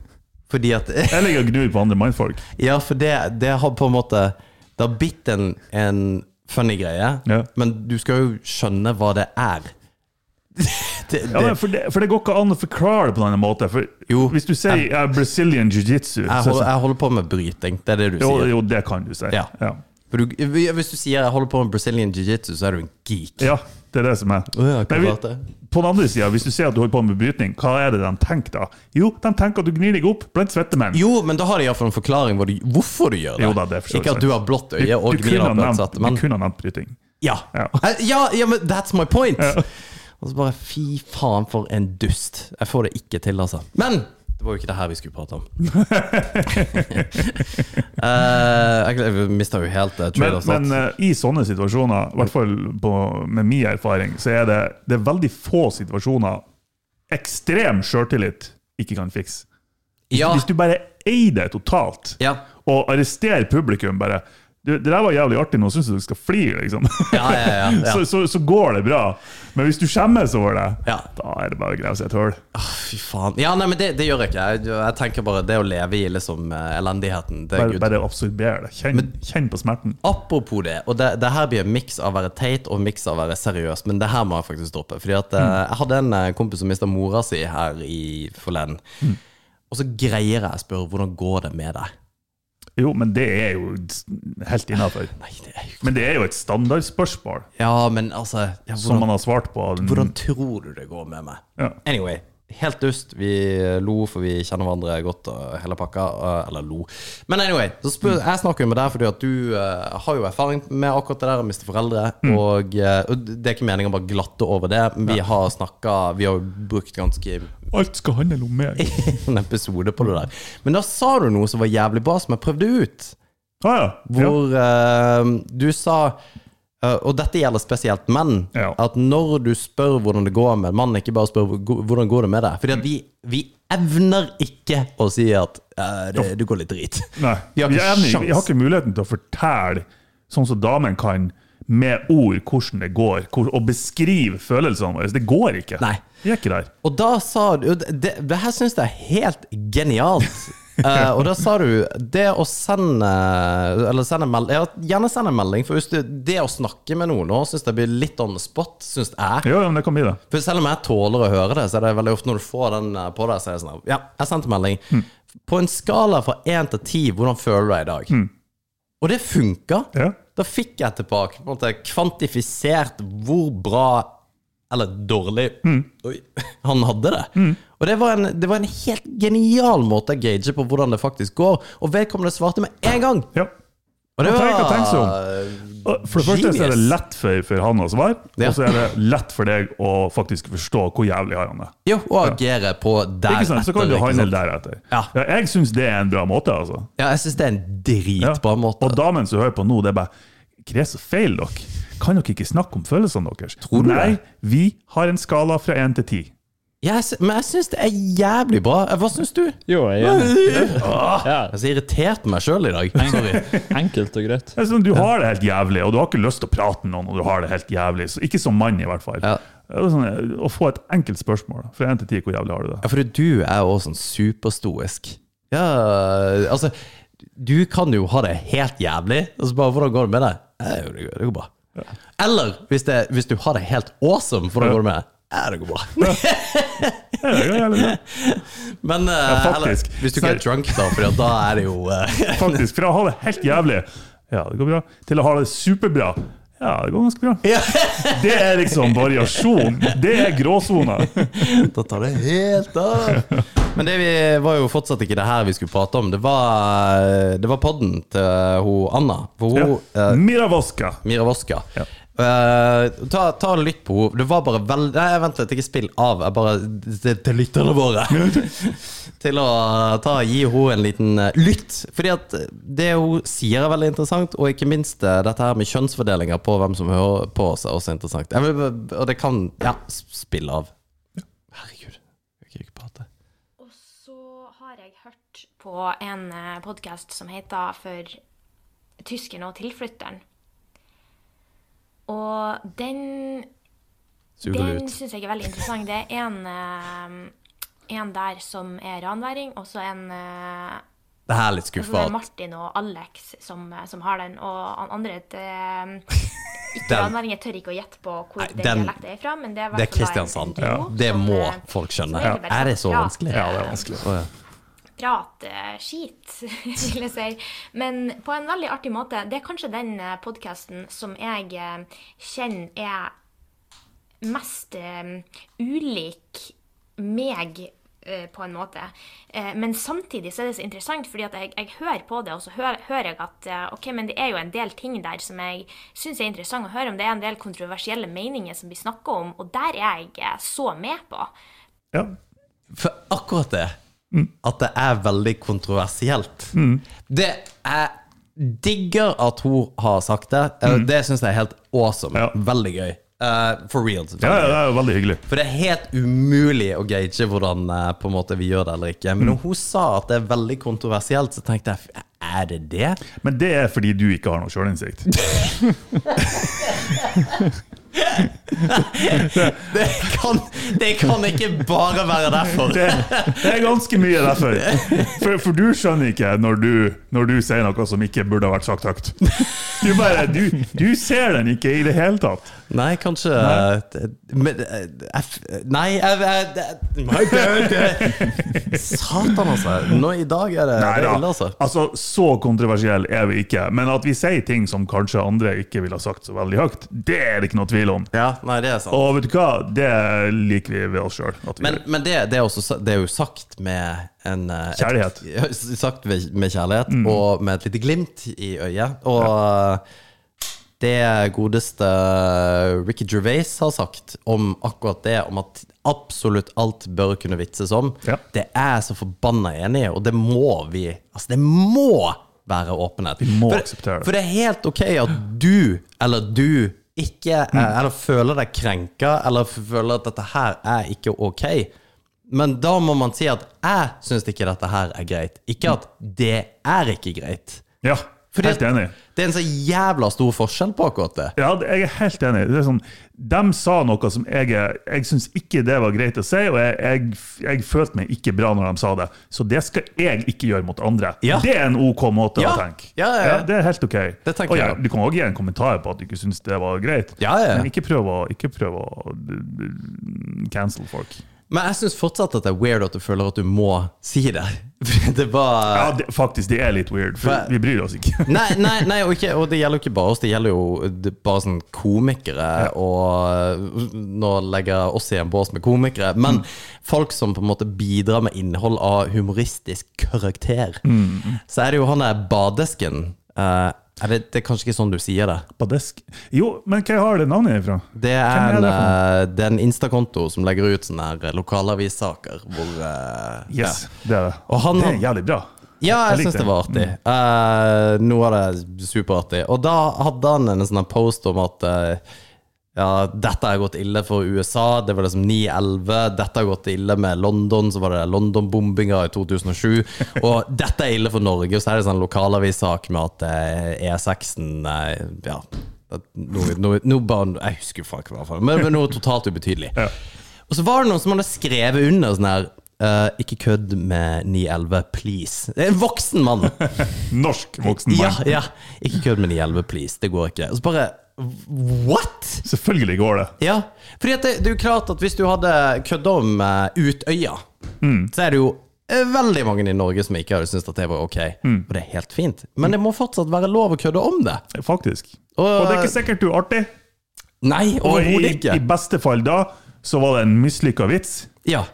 [SPEAKER 1] fordi at
[SPEAKER 2] Jeg ligger og gnur på andre mannfolk.
[SPEAKER 1] Ja, for det, det har på en måte Det har blitt en, en funny greie,
[SPEAKER 2] Ja.
[SPEAKER 1] men du skal jo skjønne hva det er. <laughs> Det,
[SPEAKER 2] Ja, men
[SPEAKER 1] det,
[SPEAKER 2] for, det, for det går ikke an å forklare det på denne måten. For
[SPEAKER 1] Jo.
[SPEAKER 2] hvis du sier ja, Brazilian jiu-jitsu
[SPEAKER 1] jeg,
[SPEAKER 2] så-
[SPEAKER 1] holder, jeg holder på med bryting, det er det du
[SPEAKER 2] jo,
[SPEAKER 1] sier.
[SPEAKER 2] jo, det kan du si.
[SPEAKER 1] Ja.
[SPEAKER 2] Ja.
[SPEAKER 1] For du, hvis du sier 'jeg holder på med Brazilian jiu-jitsu', så er du en geek.
[SPEAKER 2] Ja, det er det som er.
[SPEAKER 1] ja,
[SPEAKER 2] Men vi-
[SPEAKER 1] karate.
[SPEAKER 2] på den andre sida, hvis du ser at du holder på med brytning, hva er det de tenker da? Jo, de tenker at du gnir deg opp blant svette menn.
[SPEAKER 1] Jo, men da har de iallfall en forklaring hvor du, hvorfor du gjør det.
[SPEAKER 2] Jo da, det forstår jeg
[SPEAKER 1] ikke at du
[SPEAKER 2] selv.
[SPEAKER 1] har blått
[SPEAKER 2] Du,
[SPEAKER 1] øye og
[SPEAKER 2] du, kunne
[SPEAKER 1] gnir
[SPEAKER 2] ha
[SPEAKER 1] opp
[SPEAKER 2] nevnt-
[SPEAKER 1] ansatt,
[SPEAKER 2] du
[SPEAKER 1] men
[SPEAKER 2] kunne ha nevnt bryting.
[SPEAKER 1] ja.
[SPEAKER 2] Ja.
[SPEAKER 1] <laughs> Eh, ja! Ja, men that's my point! Og så bare fy faen for en dust. Jeg får det ikke til, altså. Men det var jo ikke det her vi skulle
[SPEAKER 2] <laughs>
[SPEAKER 1] prate om. <laughs> Eh, jeg jeg mista jo helt uh, trail
[SPEAKER 2] Men,
[SPEAKER 1] of
[SPEAKER 2] men
[SPEAKER 1] thought.
[SPEAKER 2] eh, i sånne situasjoner, i hvert fall på, med min erfaring, så er det, det er veldig få situasjoner ekstrem sjøltillit ikke kan fikse.
[SPEAKER 1] ja,
[SPEAKER 2] eh, Hvis du bare eier det totalt,
[SPEAKER 1] ja,
[SPEAKER 2] og arresterer publikum bare du, det der var jævlig artig, nå syns jeg du skal flire, liksom.
[SPEAKER 1] ja, ja, ja, ja.
[SPEAKER 2] <laughs> så, så, så går det bra. Men hvis du skjemmes over det,
[SPEAKER 1] Ja.
[SPEAKER 2] da er det bare å grave seg et hull.
[SPEAKER 1] Fy faen. Ja, nei, men det, det gjør jeg ikke. Jeg, jeg tenker bare det å leve i liksom eh, elendigheten. Det er
[SPEAKER 2] Bare,
[SPEAKER 1] good.
[SPEAKER 2] bare absorber det. Kjenn, kjenn på smerten.
[SPEAKER 1] Apropos det, og det, det her blir en miks av å være teit og en miks av å være seriøs, men det her må jeg faktisk droppe. Fordi at eh, jeg hadde en eh, kompis som mista mora si her i forleden. Og så greier jeg å spørre hvordan går det med deg.
[SPEAKER 2] Jo, men det er jo helt innafor.
[SPEAKER 1] Nei, det er jo ikke
[SPEAKER 2] Men det er jo et standardspørsmål
[SPEAKER 1] Ja, men altså ja,
[SPEAKER 2] som
[SPEAKER 1] hvordan,
[SPEAKER 2] man har svart på.
[SPEAKER 1] hvordan tror du det går med meg?
[SPEAKER 2] Ja.
[SPEAKER 1] Anyway, helt dust. Vi lo, for vi kjenner hverandre godt og hele pakka. og- Eller lo. Men anyway, så spør, jeg snakker jo med deg fordi at du eh, har jo erfaring med akkurat det der å miste foreldre. Og, eh, og det er ikke meningen å bare glatte over det. Vi har snakka Vi har jo brukt ganske <laughs>
[SPEAKER 2] Alt skal handle om meg.
[SPEAKER 1] en episode på det der. Men da sa du noe som var jævlig bra, som jeg prøvde ut.
[SPEAKER 2] Ah, ja. ja.
[SPEAKER 1] Hvor eh, du sa eh, og dette gjelder spesielt menn.
[SPEAKER 2] Ja.
[SPEAKER 1] At når du spør hvordan det går med en mann, ikke bare spør hvor- hvordan går det med deg. Fordi at vi, vi evner ikke å si at eh, det, det går litt drit.
[SPEAKER 2] Nei.
[SPEAKER 1] Vi har
[SPEAKER 2] Vi er
[SPEAKER 1] ikke
[SPEAKER 2] enige. Vi har
[SPEAKER 1] sjans.
[SPEAKER 2] ikke muligheten til å fortelle, sånn som damen kan, med ord hvordan det går, hvor, og beskrive følelsene våre. Det går ikke.
[SPEAKER 1] Nei.
[SPEAKER 2] Vi er ikke der.
[SPEAKER 1] Og da sa du og Det, det her syns jeg er helt genialt.
[SPEAKER 2] <laughs>
[SPEAKER 1] Eh, og da sa du det å sende Eller sende melding ja, Gjerne send en melding, for hvis du, det å snakke med noen nå syns jeg blir litt on the spot, syns jeg.
[SPEAKER 2] Jo, jo, men det kan bli det.
[SPEAKER 1] For selv om jeg tåler å høre det, så er det veldig ofte når du får den eh, på deg, så er det sånn Ja, jeg sendte melding.
[SPEAKER 2] Mm.
[SPEAKER 1] På en skala fra én til ti, hvordan føler du deg i dag? Og det funka.
[SPEAKER 2] Ja.
[SPEAKER 1] Da fikk jeg tilbake på en måte kvantifisert hvor bra eller dårlig
[SPEAKER 2] Mm.
[SPEAKER 1] oi, <laughs> han hadde det. Og det var, en, det var en helt genial måte å gage på hvordan det faktisk går, og vedkommende svarte med en gang!
[SPEAKER 2] Ja.
[SPEAKER 1] Og det
[SPEAKER 2] Man trenger ikke å tenke seg
[SPEAKER 1] var
[SPEAKER 2] Og For det første så er det
[SPEAKER 1] Genius.
[SPEAKER 2] lett for, for han å svare,
[SPEAKER 1] Ja.
[SPEAKER 2] og så er det lett for deg å faktisk forstå hvor jævlig har han det.
[SPEAKER 1] Jo, å agere på der
[SPEAKER 2] Ikke sant? Så kan du
[SPEAKER 1] ikke
[SPEAKER 2] handle
[SPEAKER 1] sant?
[SPEAKER 2] deretter.
[SPEAKER 1] Ja.
[SPEAKER 2] jeg syns det er en bra måte, altså.
[SPEAKER 1] Ja, jeg syns det er en
[SPEAKER 2] Ja.
[SPEAKER 1] dritbra måte.
[SPEAKER 2] Og damen som hører på nå, det er bare Hva er det som feiler dere? Kan dere ikke snakke om følelsene deres?
[SPEAKER 1] Tror du
[SPEAKER 2] Nei,
[SPEAKER 1] det?
[SPEAKER 2] vi har en skala fra én til ti.
[SPEAKER 1] Jeg sy- men jeg syns det er jævlig bra. Hva syns du?
[SPEAKER 3] Jo, jeg er enig. Ja,
[SPEAKER 1] Jeg er så irritert på meg sjøl i dag. Sorry.
[SPEAKER 3] enkelt og greit.
[SPEAKER 2] Det er sånn, du har det helt jævlig, og du har ikke lyst til å prate med noen, og du har det helt jævlig. Så ikke som mann, i hvert fall.
[SPEAKER 1] Ja.
[SPEAKER 2] Det er Sånn, å få et enkelt spørsmål fra én til ti, hvor jævlig har du det?
[SPEAKER 1] Ja, fordi du er jo også sånn superstoisk. Ja, altså Du kan jo ha det helt jævlig, og så bare Hvordan går det med deg? Ja, jo, det, går, det går bra. Eller hvis, det, hvis du har det helt awesome, hvordan går det med deg? Ja, det går bra. <laughs>
[SPEAKER 2] Ja, det er jævlig bra.
[SPEAKER 1] Men eh,
[SPEAKER 2] faktisk.
[SPEAKER 1] eller, hvis du ikke er drunk, da, for da er det jo eh,
[SPEAKER 2] Faktisk. Fra å ha det helt jævlig, ja, det går bra, til å ha det superbra. Ja, det går ganske bra. <laughs> Det er liksom variasjon. Det er
[SPEAKER 1] <laughs>
[SPEAKER 2] gråsoner.
[SPEAKER 1] Da tar det helt av. <laughs> Men det vi, var jo fortsatt ikke det her vi skulle prate om. Det var, det var podden til hun Anna. For hun
[SPEAKER 2] Ja.
[SPEAKER 1] eh,
[SPEAKER 2] Miravoska.
[SPEAKER 1] Mira Voska.
[SPEAKER 2] Ja.
[SPEAKER 1] Eh, ta, ta og lytt på henne. Det var bare veldig Nei, vent litt, ikke spill av. Jeg bare til, til lytterne
[SPEAKER 2] <laughs>
[SPEAKER 1] våre. til å ta, gi henne en liten eh, lytt. Fordi at det hun sier, er veldig interessant. Og ikke minst eh, dette her med kjønnsfordelinger på hvem som hører på oss, er også interessant. Jeg vil, og det kan Ja, spill av. Herregud. Jeg kan ikke prate.
[SPEAKER 5] Og så har jeg hørt på en podkast som heter For tyskeren og tilflytteren. Og den,
[SPEAKER 1] Sug det
[SPEAKER 5] den
[SPEAKER 1] ut.
[SPEAKER 5] syns jeg er veldig interessant. Det er en, eh, en der som er ranværing, og så en eh,
[SPEAKER 1] Det her er litt
[SPEAKER 5] og så Altså, det er
[SPEAKER 1] skuffende.
[SPEAKER 5] Martin og Alex som, eh, som har den, og han
[SPEAKER 1] <laughs>
[SPEAKER 5] andre et, eh, ikke
[SPEAKER 1] Den-
[SPEAKER 5] ranværinger tør ikke å gjette på hvor
[SPEAKER 1] Nei,
[SPEAKER 5] den,
[SPEAKER 1] den-
[SPEAKER 5] dialekten er fra, men det er, i
[SPEAKER 1] Det
[SPEAKER 5] hvert
[SPEAKER 1] er
[SPEAKER 5] fall da en-
[SPEAKER 1] Kristiansand.
[SPEAKER 5] en duo
[SPEAKER 1] Det
[SPEAKER 5] som,
[SPEAKER 1] må
[SPEAKER 5] eh,
[SPEAKER 1] folk skjønne.
[SPEAKER 5] som egentlig bare
[SPEAKER 1] Er det så
[SPEAKER 5] snakker
[SPEAKER 1] vanskelig?
[SPEAKER 2] Ja, det er vanskelig.
[SPEAKER 1] Å, ja.
[SPEAKER 5] pratskit, <laughs> vil jeg si. Men på en veldig artig måte. Det er kanskje den podkasten som jeg eh, kjenner er mest eh, ulik meg eh, på en måte. Eh, Men samtidig så er det så interessant, fordi at jeg, jeg hører på det, og så hører, hører jeg at eh, ok, men det er jo en del ting der som jeg syns er interessant å høre om. Det er en del kontroversielle meninger som blir snakka om, og der er jeg eh, så med på.
[SPEAKER 2] Ja.
[SPEAKER 1] For akkurat det.
[SPEAKER 2] Mm.
[SPEAKER 1] At det er veldig kontroversielt. Det er digger at hun har sagt det. Eh, Det syns jeg er helt awesome.
[SPEAKER 2] Mm. Ja.
[SPEAKER 1] Veldig gøy. Eh, for real. selvfølgelig.
[SPEAKER 2] Ja, ja, det er jo veldig hyggelig.
[SPEAKER 1] For det er helt umulig å gage hvordan eh, på en måte, vi gjør det eller ikke.
[SPEAKER 2] Mm.
[SPEAKER 1] Men når hun sa at det er veldig kontroversielt, så tenkte jeg "F- er det det?
[SPEAKER 2] Men det er fordi du ikke har noe sjølinnsikt.
[SPEAKER 1] Det kan, det kan ikke bare være derfor.
[SPEAKER 2] <laughs> Det, det er ganske mye derfor. For, for du skjønner ikke når du, når du sier noe som ikke burde ha vært sagt høyt. Du, bare, du, du ser den ikke i det hele tatt.
[SPEAKER 1] Nei, kanskje eh, Men eh, jeg f- Nei, jeg, jeg, jeg My eh. God. <laughs> Satan, altså. Nå i dag er det, det er
[SPEAKER 2] Neida.
[SPEAKER 1] ille, altså.
[SPEAKER 2] Altså, så kontroversiell er vi ikke. Men at vi sier ting som kanskje andre ikke ville ha sagt så veldig høyt, det er det ikke noe tvil om.
[SPEAKER 1] Ja, nei, det er sant.
[SPEAKER 2] Og vet du hva, det liker vi ved oss sjøl.
[SPEAKER 1] Men, men det, det, er også, sa- det er jo sagt med en eh, et-
[SPEAKER 2] Kjærlighet.
[SPEAKER 1] <laughs>
[SPEAKER 2] Mm.
[SPEAKER 1] Ja, s- Sagt ved- med kjærlighet, og med et lite glimt i øyet. Og det godeste Ricky Gervais har sagt om akkurat det, om at absolutt alt bør kunne vitses om,
[SPEAKER 2] Ja.
[SPEAKER 1] det er jeg så forbanna enig i, og det må vi Altså, det må være åpenhet. Vi
[SPEAKER 2] må
[SPEAKER 1] for,
[SPEAKER 2] akseptere det.
[SPEAKER 1] For det er helt ok at du, eller du, ikke eh,
[SPEAKER 2] Mm.
[SPEAKER 1] Eller føler deg krenka, eller føler at dette her er ikke ok. Men da må man si at 'jeg syns ikke dette her er greit', ikke at 'det er ikke greit'.
[SPEAKER 2] Ja,
[SPEAKER 1] Fordi
[SPEAKER 2] helt enig.
[SPEAKER 1] at det er en så jævla stor forskjell på akkurat det.
[SPEAKER 2] Ja, det- jeg er helt enig. Det er sånn, de sa noe som jeg, er- jeg syns ikke det var greit å si, og jeg, jeg, jeg følte meg ikke bra når de sa det. Så det skal jeg ikke gjøre mot andre.
[SPEAKER 1] Ja.
[SPEAKER 2] Det er en OK måte
[SPEAKER 1] Ja.
[SPEAKER 2] å tenke.
[SPEAKER 1] Ja, ja, ja.
[SPEAKER 2] det er helt OK.
[SPEAKER 1] Det tenker
[SPEAKER 2] Og ja,
[SPEAKER 1] jeg også.
[SPEAKER 2] du kan også gi en kommentar på at du ikke syns det var greit,
[SPEAKER 1] Ja, ja.
[SPEAKER 2] men ikke prøv å, ikke prøv å mm, cancel folk.
[SPEAKER 1] Men jeg syns fortsatt at det er weird at du føler at du må si det. <laughs> For det var
[SPEAKER 2] Ja, det, faktisk, det er litt weird, for
[SPEAKER 1] Hva-
[SPEAKER 2] vi bryr oss ikke. <laughs>
[SPEAKER 1] Nei, nei, nei og, ikke, og det gjelder jo ikke bare oss, det gjelder jo det, bare sånn komikere. Og nå legger jeg oss i en bås med komikere,
[SPEAKER 2] Mm.
[SPEAKER 1] men folk som på en måte bidrar med innhold av humoristisk karakter.
[SPEAKER 2] Mm,
[SPEAKER 1] Så er det jo han der badesken. eh, er det, det er kanskje ikke sånn du sier det.
[SPEAKER 2] På desk. Jo, men hva har det navnet ifra?
[SPEAKER 1] Det er,
[SPEAKER 2] Hvem er
[SPEAKER 1] en,
[SPEAKER 2] det
[SPEAKER 1] eh, det er en Insta-konto som legger ut sånne her lokalavissaker hvor eh,
[SPEAKER 2] Yes,
[SPEAKER 1] ja.
[SPEAKER 2] det er det.
[SPEAKER 1] Og han-
[SPEAKER 2] det er jævlig bra.
[SPEAKER 1] Ja, jeg
[SPEAKER 2] Jeg likte Mm.
[SPEAKER 1] syns det var artig. Eh, noe av det er superartig. Og da hadde han en sånn her post om at eh, ja, dette har gått ille for USA. Det var liksom 9-11. Dette har gått ille med London, så var det London-bombinga i 2007. Og dette er ille for Norge. Og så er det sånn lokalavissak med at eh, E6-en eh, Ja. at Noe, noe, noe bare, jeg husker faen ikke hva det var, men, men noe totalt ubetydelig. Og så var det noen som hadde skrevet under sånn her eh, Ikke kødd med 911, please. Det er en voksen mann.
[SPEAKER 2] Norsk voksen mann.
[SPEAKER 1] Ja, ja. Ikke kødd med 911, please. Det går ikke. Og så bare What?!
[SPEAKER 2] Selvfølgelig går det.
[SPEAKER 1] Ja, fordi at det, det er jo klart at hvis du hadde kødda om eh, Utøya,
[SPEAKER 2] Mm.
[SPEAKER 1] så er det jo eh, veldig mange i Norge som ikke hadde syntes at det var ok.
[SPEAKER 2] Mm.
[SPEAKER 1] Og det er helt fint. Men det må fortsatt være lov å kødde om det.
[SPEAKER 2] Faktisk.
[SPEAKER 1] Og-
[SPEAKER 2] Og, det er ikke sikkert du er artig.
[SPEAKER 1] Nei,
[SPEAKER 2] Og i,
[SPEAKER 1] overhodet
[SPEAKER 2] i
[SPEAKER 1] ikke.
[SPEAKER 2] beste fall da, så var det en mislykka vits.
[SPEAKER 1] Ja.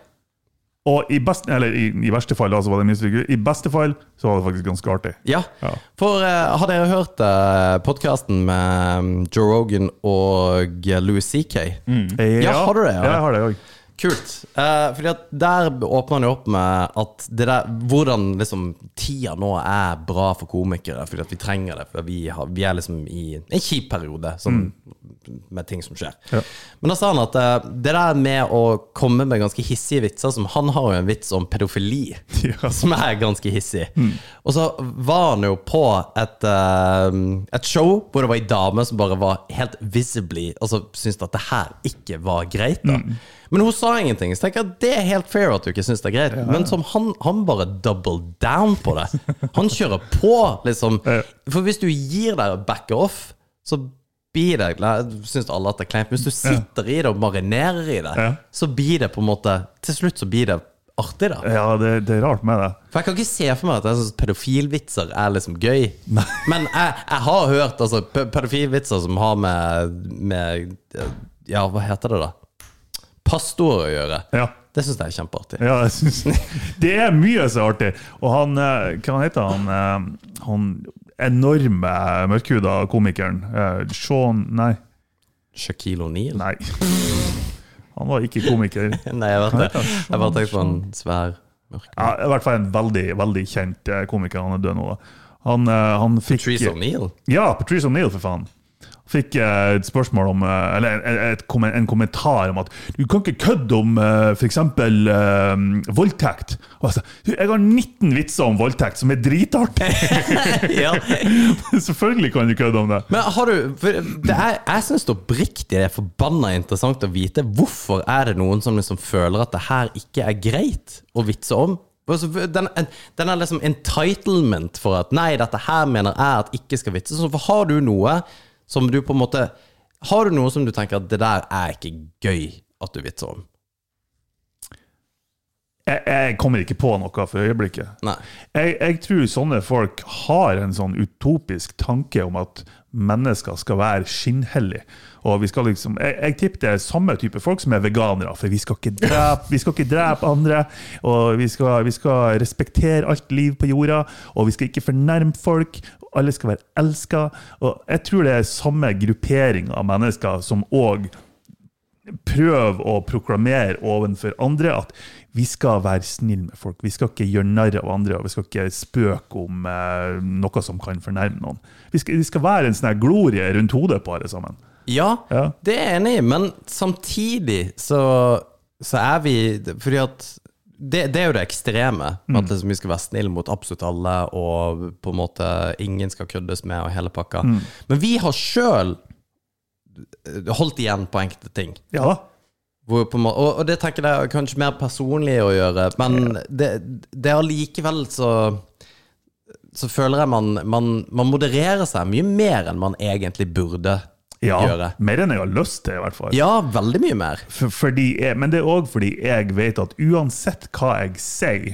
[SPEAKER 2] Og i, best, eller i, i verste fall da, så var det mislykket. I beste fall så var det faktisk ganske artig.
[SPEAKER 1] Ja,
[SPEAKER 2] Ja.
[SPEAKER 1] for eh, har dere hørt uh, podkasten med mm, Joe Rogan og eh, Louis CK?
[SPEAKER 2] Mm.
[SPEAKER 1] Ja, har du det, ja?
[SPEAKER 2] Ja, jeg har det òg.
[SPEAKER 1] Kult. Eh, fordi at der åpner han jo opp med at det der, hvordan liksom tida nå er bra for komikere, fordi at vi trenger det. For vi, har, vi er liksom i en kjip periode sånn, med ting som skjer.
[SPEAKER 2] Mm. Ja.
[SPEAKER 1] Men da sa han at eh, det der med å komme med ganske hissige vitser som Han har jo en vits om pedofili,
[SPEAKER 2] <laughs> Ja. Mm.
[SPEAKER 1] som er ganske hissig. Og så var han jo på et, eh, et show hvor det var ei dame som bare var helt visibly Altså syntes at det her ikke var greit. da
[SPEAKER 2] Mm.
[SPEAKER 1] Men hun sa ingenting, så tenker jeg at det er helt fair at du ikke syns det er greit. Men som han, han bare double down på det. Han kjører på, liksom.
[SPEAKER 2] Ja.
[SPEAKER 1] For hvis du gir deg og backer off, så blir det nei, Syns alle at det er kleint. Men hvis du sitter i det og marinerer i det,
[SPEAKER 2] Ja.
[SPEAKER 1] så blir det på en måte Til slutt så blir det artig, da.
[SPEAKER 2] Ja, det, det er rart med det.
[SPEAKER 1] For jeg kan ikke se for meg at jeg synes pedofilvitser er liksom gøy. Men jeg, jeg har hørt altså, pe- pedofilvitser som har med, med Ja, hva heter det, da? Pastorer å gjøre.
[SPEAKER 2] Ja.
[SPEAKER 1] Det syns jeg er kjempeartig.
[SPEAKER 2] Ja, jeg synes, <laughs> det er mye så artig. Og han, eh, hva han heter han? eh, Han enorme mørkhuda komikeren. eh, Sean, nei,
[SPEAKER 1] Shaquille O'Neal? Nei.
[SPEAKER 2] nei. <laughs> Han var ikke komiker.
[SPEAKER 1] jeg vet det. Jeg bare tenkte på en svær mørk
[SPEAKER 2] Ja, I hvert fall en veldig, veldig kjent eh, komiker. Han er død nå, da. Han, eh, han fikk
[SPEAKER 1] Patrice O'Neal?
[SPEAKER 2] Ja, Patrice O'Neill, for faen. Fikk eh, et spørsmål om eh, Eller en, et, kom- en kommentar om at du kan ikke kødde om eh, for eksempel eh, voldtekt. Og jeg sa, «Du, jeg har 19 vitser om voldtekt som er dritartig!
[SPEAKER 1] <laughs>
[SPEAKER 2] <laughs>
[SPEAKER 1] ja.
[SPEAKER 2] Selvfølgelig kan du kødde om det!
[SPEAKER 1] Men har du for det er, Jeg syns oppriktig det er forbanna interessant å vite hvorfor er det noen som liksom føler at det her ikke er greit å vitse om. Altså, Den, den er liksom entitlement for at nei, dette her mener jeg at ikke skal vitses om. For har du noe som du på en måte Har du noe som du tenker at det der er ikke gøy at du vitser om?
[SPEAKER 2] Jeg, jeg kommer ikke på noe for øyeblikket.
[SPEAKER 1] Nei.
[SPEAKER 2] Jeg, jeg tror sånne folk har en sånn utopisk tanke om at mennesker skal være skinnhellige. Og vi skal liksom, jeg, jeg tipper det er samme type folk som er veganere, for vi skal ikke drepe, vi skal ikke drepe andre. Og vi skal, vi skal respektere alt liv på jorda, og vi skal ikke fornærme folk. og Alle skal være elska. Og jeg tror det er samme gruppering av mennesker som òg prøve å proklamere overfor andre at vi skal være snille med folk. Vi skal ikke gjøre narr av andre, og vi skal ikke spøke om eh, noe som kan fornærme noen. Vi skal, vi skal være en sånn her glorie rundt hodet på alle sammen.
[SPEAKER 1] Ja,
[SPEAKER 2] Ja.
[SPEAKER 1] det er jeg enig i, men samtidig så, så er vi Fordi at det, det er jo det ekstreme. med
[SPEAKER 2] Mm.
[SPEAKER 1] At liksom vi skal være snille mot absolutt alle, og på en måte ingen skal køddes med, og hele pakka.
[SPEAKER 2] Mm.
[SPEAKER 1] Men vi har sjøl holdt igjen på enkelte ting.
[SPEAKER 2] Ja da.
[SPEAKER 1] Hvor på en måte, og, og det tenker jeg er kanskje mer personlig å gjøre, men det, det er allikevel så Så føler jeg man, man, man modererer seg mye mer enn man egentlig burde
[SPEAKER 2] Ja,
[SPEAKER 1] gjøre.
[SPEAKER 2] Mer enn jeg har lyst til, i hvert fall.
[SPEAKER 1] Ja, veldig mye mer.
[SPEAKER 2] For, fordi jeg, men det er òg fordi jeg vet at uansett hva jeg sier,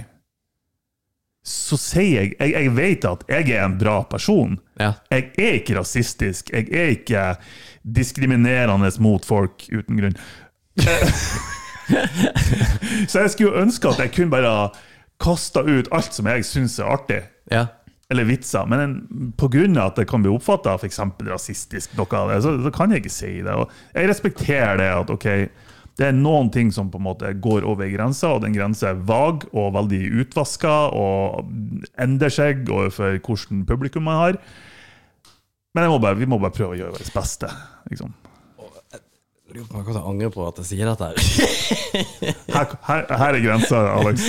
[SPEAKER 2] så sier jeg, jeg Jeg vet at jeg er en bra person.
[SPEAKER 1] Ja.
[SPEAKER 2] Jeg er ikke rasistisk. Jeg er ikke diskriminerende mot folk uten grunn. Så jeg skulle ønske at jeg kunne bare kasta ut alt som jeg syns er artig,
[SPEAKER 1] ja.
[SPEAKER 2] eller vitser. Men en- på grunn av at det kan bli oppfatta f.eks. rasistisk, noe av det, så, så kan jeg ikke si det. Og jeg respekterer det at ok, det er noen ting som på en måte går over grensa, og den grensa er vag og veldig utvaska og endrer seg overfor hvordan publikum man har. Men jeg må bare, vi må bare prøve å gjøre vårt beste. Liksom.
[SPEAKER 1] Lurer på om jeg kommer til å angre på at jeg sier dette. her
[SPEAKER 2] Her, her, her er grensa, Alex.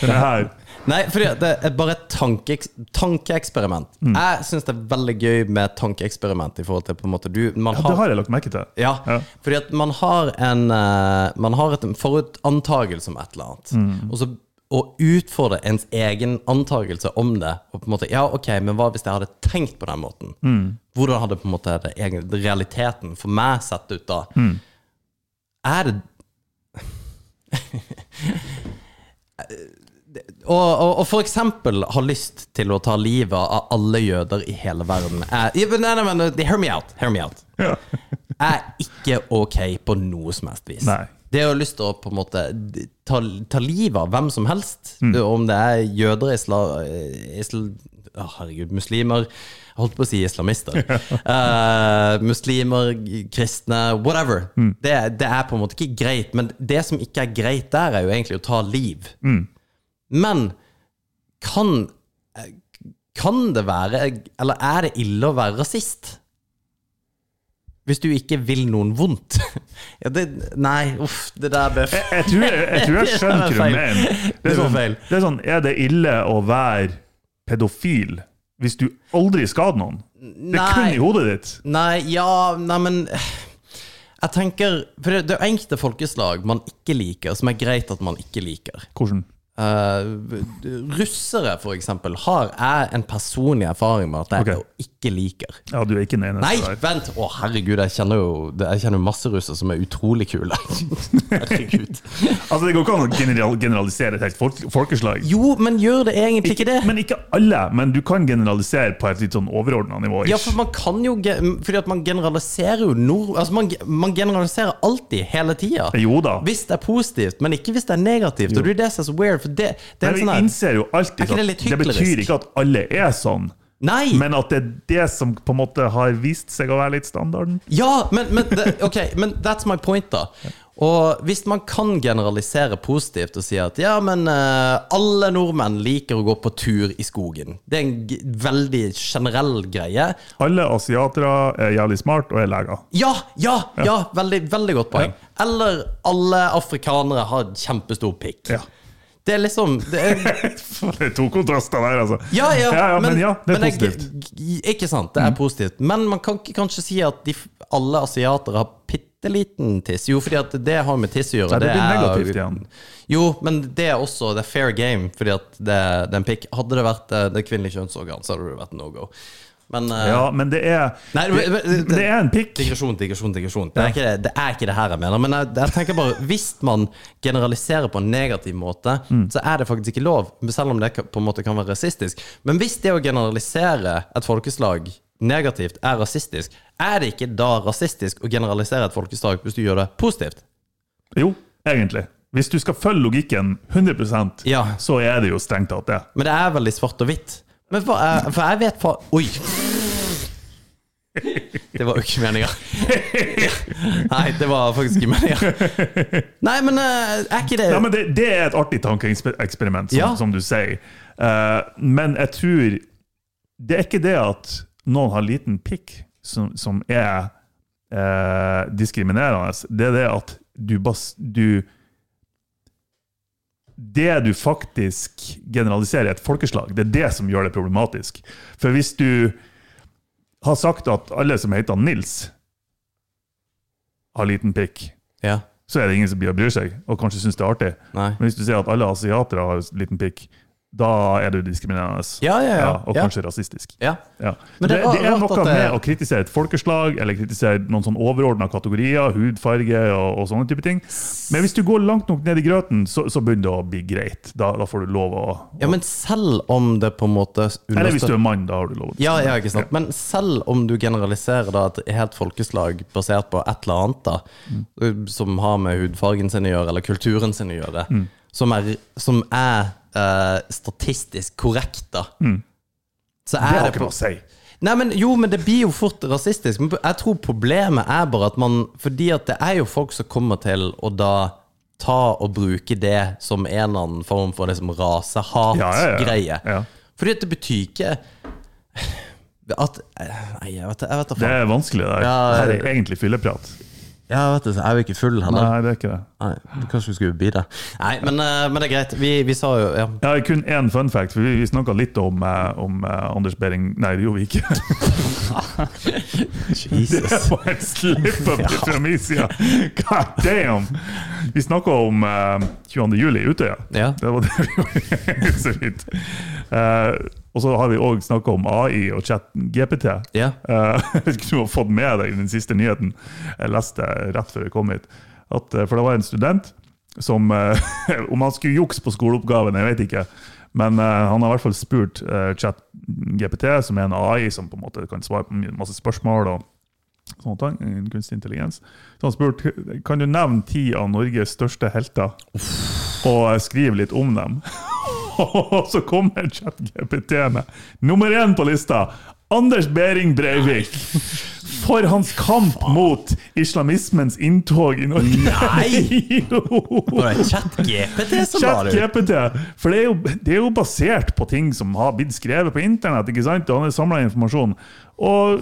[SPEAKER 2] Det her.
[SPEAKER 1] Nei, fordi at det er bare et tanke, tankeeksperiment. Jeg syns det er veldig gøy med tankeeksperiment i forhold til på en måte du man
[SPEAKER 2] Ja, det har jeg lagt merke til.
[SPEAKER 1] Ja,
[SPEAKER 2] Ja.
[SPEAKER 1] fordi at man har en eh, Man har et forutantagelse om et eller annet. Og så å utfordre ens egen antagelse om det, og på en måte Ja, OK, men hva hvis jeg hadde tenkt på den måten? Hvordan hadde på en måte det egen, realiteten for meg sett ut da? Er det og, og, og for eksempel har lyst til å ta livet av alle jøder i hele verden. Eh, ja, men nei, nei, men, hear me out. Hear me out er ikke ok på noe som helst vis.
[SPEAKER 2] Nei.
[SPEAKER 1] Det å ha lyst til å på en måte d- ta, ta livet av hvem som helst, om det er jøder, isla, isl, å, herregud, muslimer Jeg holdt på å si islamister. Eh, muslimer, g- kristne, whatever. Det, det er på en måte ikke greit, men det som ikke er greit der, er jo egentlig å ta liv. Men kan eh, kan det være, eller er det ille å være rasist? Hvis du ikke vil noen vondt? <laughs> Ja, det, nei, uff, det der ble f-
[SPEAKER 2] Jeg tror jeg, jeg, tror jeg skjønner hva
[SPEAKER 1] feil.
[SPEAKER 2] du mener. Det
[SPEAKER 1] Det
[SPEAKER 2] er,
[SPEAKER 1] var
[SPEAKER 2] sånn,
[SPEAKER 1] feil.
[SPEAKER 2] det er sånn Er det ille å være pedofil hvis du aldri skader noen? Det er kun
[SPEAKER 1] Nei.
[SPEAKER 2] i hodet ditt.
[SPEAKER 1] Nei, ja, nei, men eh, Jeg tenker For det, det er enkelte folkeslag man ikke liker, som er greit at man ikke liker.
[SPEAKER 2] Hvordan?
[SPEAKER 1] Eh, russere, for eksempel, har jeg en personlig erfaring med at jeg
[SPEAKER 2] Ok.
[SPEAKER 1] ikke liker.
[SPEAKER 2] Ja, du er ikke den eneste
[SPEAKER 1] Nei,
[SPEAKER 2] der.
[SPEAKER 1] vent! Å, herregud, jeg kjenner jo det- Jeg kjenner jo masse russere som er utrolig
[SPEAKER 2] <laughs>
[SPEAKER 1] kule. Herregud.
[SPEAKER 2] Altså, det går ikke an å general, generalisere et helt folk, folkeslag.
[SPEAKER 1] Jo, men gjør det egentlig ikke det?
[SPEAKER 2] Men ikke alle, men du kan generalisere på et litt sånn overordna nivå.
[SPEAKER 1] Ja,
[SPEAKER 2] ish.
[SPEAKER 1] for man kan jo ge- Fordi at man generaliserer jo nord... Altså, man, ge- man generaliserer alltid, hele tida.
[SPEAKER 2] Jo da.
[SPEAKER 1] Hvis det er positivt, men ikke hvis det er negativt. Og det er jo det som er så weird, for det, det er
[SPEAKER 2] Men
[SPEAKER 1] en
[SPEAKER 2] vi
[SPEAKER 1] sånn her
[SPEAKER 2] innser jo alltid
[SPEAKER 1] Er ikke det
[SPEAKER 2] at
[SPEAKER 1] litt
[SPEAKER 2] det betyr
[SPEAKER 1] hyklerisk?
[SPEAKER 2] ikke at alle er sånn,
[SPEAKER 1] Nei!
[SPEAKER 2] men at det er det som på en måte har vist seg å være litt standarden.
[SPEAKER 1] Ja, men, men det, Ok, men that's my point, da. Og hvis man kan generalisere positivt og si at ja, men eh, alle nordmenn liker å gå på tur i skogen. Det er en g veldig generell greie.
[SPEAKER 2] Alle asiatere er jævlig smart og er
[SPEAKER 1] <laughs>
[SPEAKER 2] leger.
[SPEAKER 1] Ja, ja, ja! Veldig, veldig godt poeng. Eller alle afrikanere har kjempestor pikk.
[SPEAKER 2] Ja.
[SPEAKER 1] Det er liksom det er,
[SPEAKER 2] Det er to kontraster der, altså.
[SPEAKER 1] Ja, ja,
[SPEAKER 2] ja, men, ja, det er
[SPEAKER 1] men jeg-
[SPEAKER 2] positivt. Mm.
[SPEAKER 1] g- ikke sant, det er positivt. Men man kan ikke kanskje si at de, f- alle asiater har bitte liten tiss. Jo, fordi at det har med tiss å gjøre.
[SPEAKER 2] Nei, det blir
[SPEAKER 1] er-
[SPEAKER 2] negativt igjen.
[SPEAKER 1] Jo, men det er også det er fair game, fordi at det, den pikk Hadde det vært eh, det kvinnelige kjønnsorgan, så hadde det vært no go. Men eh,
[SPEAKER 2] Ja, men det er,
[SPEAKER 1] Nei,
[SPEAKER 2] det,
[SPEAKER 1] men- men-
[SPEAKER 2] det er en pikk.
[SPEAKER 1] Digresjon, digresjon, digresjon. Det er ikke det, det, er ikke det her jeg mener. Men jeg, jeg tenker bare, hvis man generaliserer på en negativ måte, så er det faktisk ikke lov, selv om det kan- på en måte kan være rasistisk. Men hvis det å generalisere et folkeslag negativt er rasistisk, er det ikke da rasistisk å generalisere et folkeslag hvis du gjør det positivt?
[SPEAKER 2] Jo, egentlig. Hvis du skal følge logikken 100
[SPEAKER 1] Ja.
[SPEAKER 2] så er det jo strengt tatt det.
[SPEAKER 1] Men det er veldig svart og hvitt. Men hva er, for jeg vet fa... Oi! Det var jo ikke meninga. Nei, det var faktisk ikke meninga. Nei, men eh, er ikke det
[SPEAKER 2] Nei, men det, det er et artig tankeeksperiment, som,
[SPEAKER 1] Ja.
[SPEAKER 2] som du sier. Eh, men jeg tror Det er ikke det at noen har liten pikk som, som er eh, diskriminerende. Det er det at du, bas, du Det du faktisk generaliserer i et folkeslag, det er det som gjør det problematisk. For hvis du har sagt at alle som heter Nils, har liten pikk
[SPEAKER 1] Ja.
[SPEAKER 2] så er det ingen som blir å bryr seg, og kanskje syns det er artig.
[SPEAKER 1] Nei.
[SPEAKER 2] Men hvis du sier at alle asiatere har liten pikk, da er du diskriminerende.
[SPEAKER 1] Ja, ja, ja.
[SPEAKER 2] og
[SPEAKER 1] Ja.
[SPEAKER 2] kanskje rasistisk.
[SPEAKER 1] Ja.
[SPEAKER 2] Ja.
[SPEAKER 1] Men
[SPEAKER 2] det,
[SPEAKER 1] det
[SPEAKER 2] det,
[SPEAKER 1] er rart
[SPEAKER 2] er
[SPEAKER 1] at
[SPEAKER 2] noe
[SPEAKER 1] det-
[SPEAKER 2] med å kritisere et folkeslag, eller kritisere noen sånn overordna kategorier, hudfarge og, og sånne type ting. Men hvis du går langt nok ned i grøten, så, så begynner det å bli greit. Da, da får du lov å
[SPEAKER 1] ja, men selv om det på en måte
[SPEAKER 2] Eller hvis du
[SPEAKER 1] understøtter-
[SPEAKER 2] er mann, da har du lov å
[SPEAKER 1] ja, ja, ikke sant. Men selv om du generaliserer da et helt folkeslag basert på et eller annet, da,
[SPEAKER 2] Mm.
[SPEAKER 1] som har med hudfargen sin å gjøre, eller kulturen sin å gjøre, som er, som er eh, statistisk korrekt, da,
[SPEAKER 2] Mm.
[SPEAKER 1] så
[SPEAKER 2] Det
[SPEAKER 1] er
[SPEAKER 2] har
[SPEAKER 1] det
[SPEAKER 2] ikke
[SPEAKER 1] på
[SPEAKER 2] noe å si.
[SPEAKER 1] Nei, men Jo, men det blir jo fort rasistisk. Men jeg tror problemet er bare at man Fordi at det er jo folk som kommer til å da ta og bruke det som en eller annen form for liksom
[SPEAKER 2] Ja, ja, ja.
[SPEAKER 1] rasehat-greie.
[SPEAKER 2] Ja.
[SPEAKER 1] Fordi at det betyr ikke at Nei, jeg vet det, jeg vet det
[SPEAKER 2] Det
[SPEAKER 1] faen.
[SPEAKER 2] er vanskelig. Det her.
[SPEAKER 1] Ja,
[SPEAKER 2] Det her
[SPEAKER 1] det-
[SPEAKER 2] er egentlig fylleprat.
[SPEAKER 1] Ja, jeg vet det, så jeg er jo ikke full
[SPEAKER 2] Nei,
[SPEAKER 1] heller.
[SPEAKER 2] det er ikke det.
[SPEAKER 1] Nei, Kanskje vi skulle bli det. Nei, men, eh, men det er greit. Vi, vi sa jo ja.
[SPEAKER 2] Jeg har kun én fun fact, for vi, vi snakka litt om, eh, om eh, Anders Behring Nei, det gjorde vi ikke.
[SPEAKER 1] Jesus.
[SPEAKER 2] Det var en slip-up fra min side. God damn! Vi snakka om eh, 22. juli i Utøya.
[SPEAKER 1] Ja.
[SPEAKER 2] Det var det vi gjorde. <laughs> Så vidt. Eh, og så har vi òg snakka om AI og chat-GPT.
[SPEAKER 1] Ja.
[SPEAKER 2] Eh, jeg vet ikke om du har fått med deg den siste nyheten. Jeg leste rett før jeg kom hit. At, eh, for det var en student som eh, <laughs> Om han skulle jukse på skoleoppgaven, jeg vet ikke. Men eh, han har i hvert fall spurt eh, ChatGPT, som er en AI som på en måte kan svare på masse spørsmål. og sånne ting, innen kunstig intelligens. Så han spurte kan du nevne ti av Norges største helter, og eh, skrive litt om dem. <laughs> Og så kommer ChatGPT med nummer én på lista! Anders Behring Breivik! For hans kamp mot islamismens inntog i Norge!
[SPEAKER 1] Nei!
[SPEAKER 2] <laughs> Jo.
[SPEAKER 1] Var det ChatGPT som var det?
[SPEAKER 2] ChatGPT. For det er, jo, det er jo basert på ting som har blitt skrevet på internett. ikke sant? Og han har samla informasjon. Og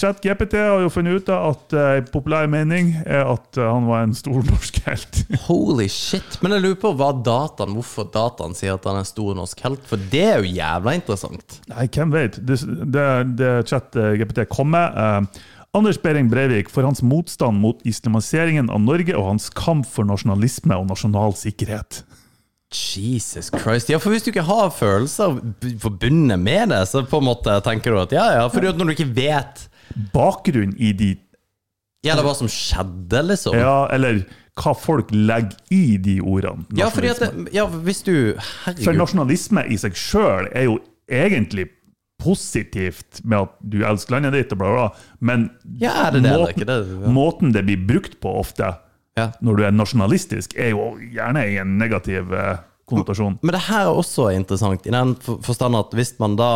[SPEAKER 2] ChatGPT har jo funnet ut av at eh, populær mening er at eh, han var en stor <laughs> norsk helt.
[SPEAKER 1] Holy shit. Men jeg lurer på hva dataen, hvorfor dataen sier at han er en stor norsk helt, for det er jo jævla interessant.
[SPEAKER 2] Nei, hvem vet? Det, det, det ChatGPT kom med. eh, Anders Behring Breivik for hans motstand mot islamiseringen av Norge og hans kamp for nasjonalisme og nasjonal sikkerhet.
[SPEAKER 1] Jesus Christ. Ja, for hvis du ikke har følelser b- forbundet med det, så på en måte tenker du at ja, ja, fordi at når du ikke vet
[SPEAKER 2] Bakgrunnen i de
[SPEAKER 1] Ja, det var hva som skjedde, liksom. Ja,
[SPEAKER 2] Ja, eller hva folk legger i de ordene.
[SPEAKER 1] fordi at det, Ja, hvis du
[SPEAKER 2] liksom- For
[SPEAKER 1] Herregud.
[SPEAKER 2] nasjonalisme i seg sjøl er jo egentlig positivt med at du elsker landet ditt, og bla, bla, bla. men
[SPEAKER 1] Ja, er det det, eller
[SPEAKER 2] måten,
[SPEAKER 1] ikke det? Ja.
[SPEAKER 2] måten det blir brukt på ofte
[SPEAKER 1] Ja.
[SPEAKER 2] når du er nasjonalistisk, er jo gjerne i en negativ eh, konnotasjon.
[SPEAKER 1] Men det her er også interessant, i den for- forstand at hvis man da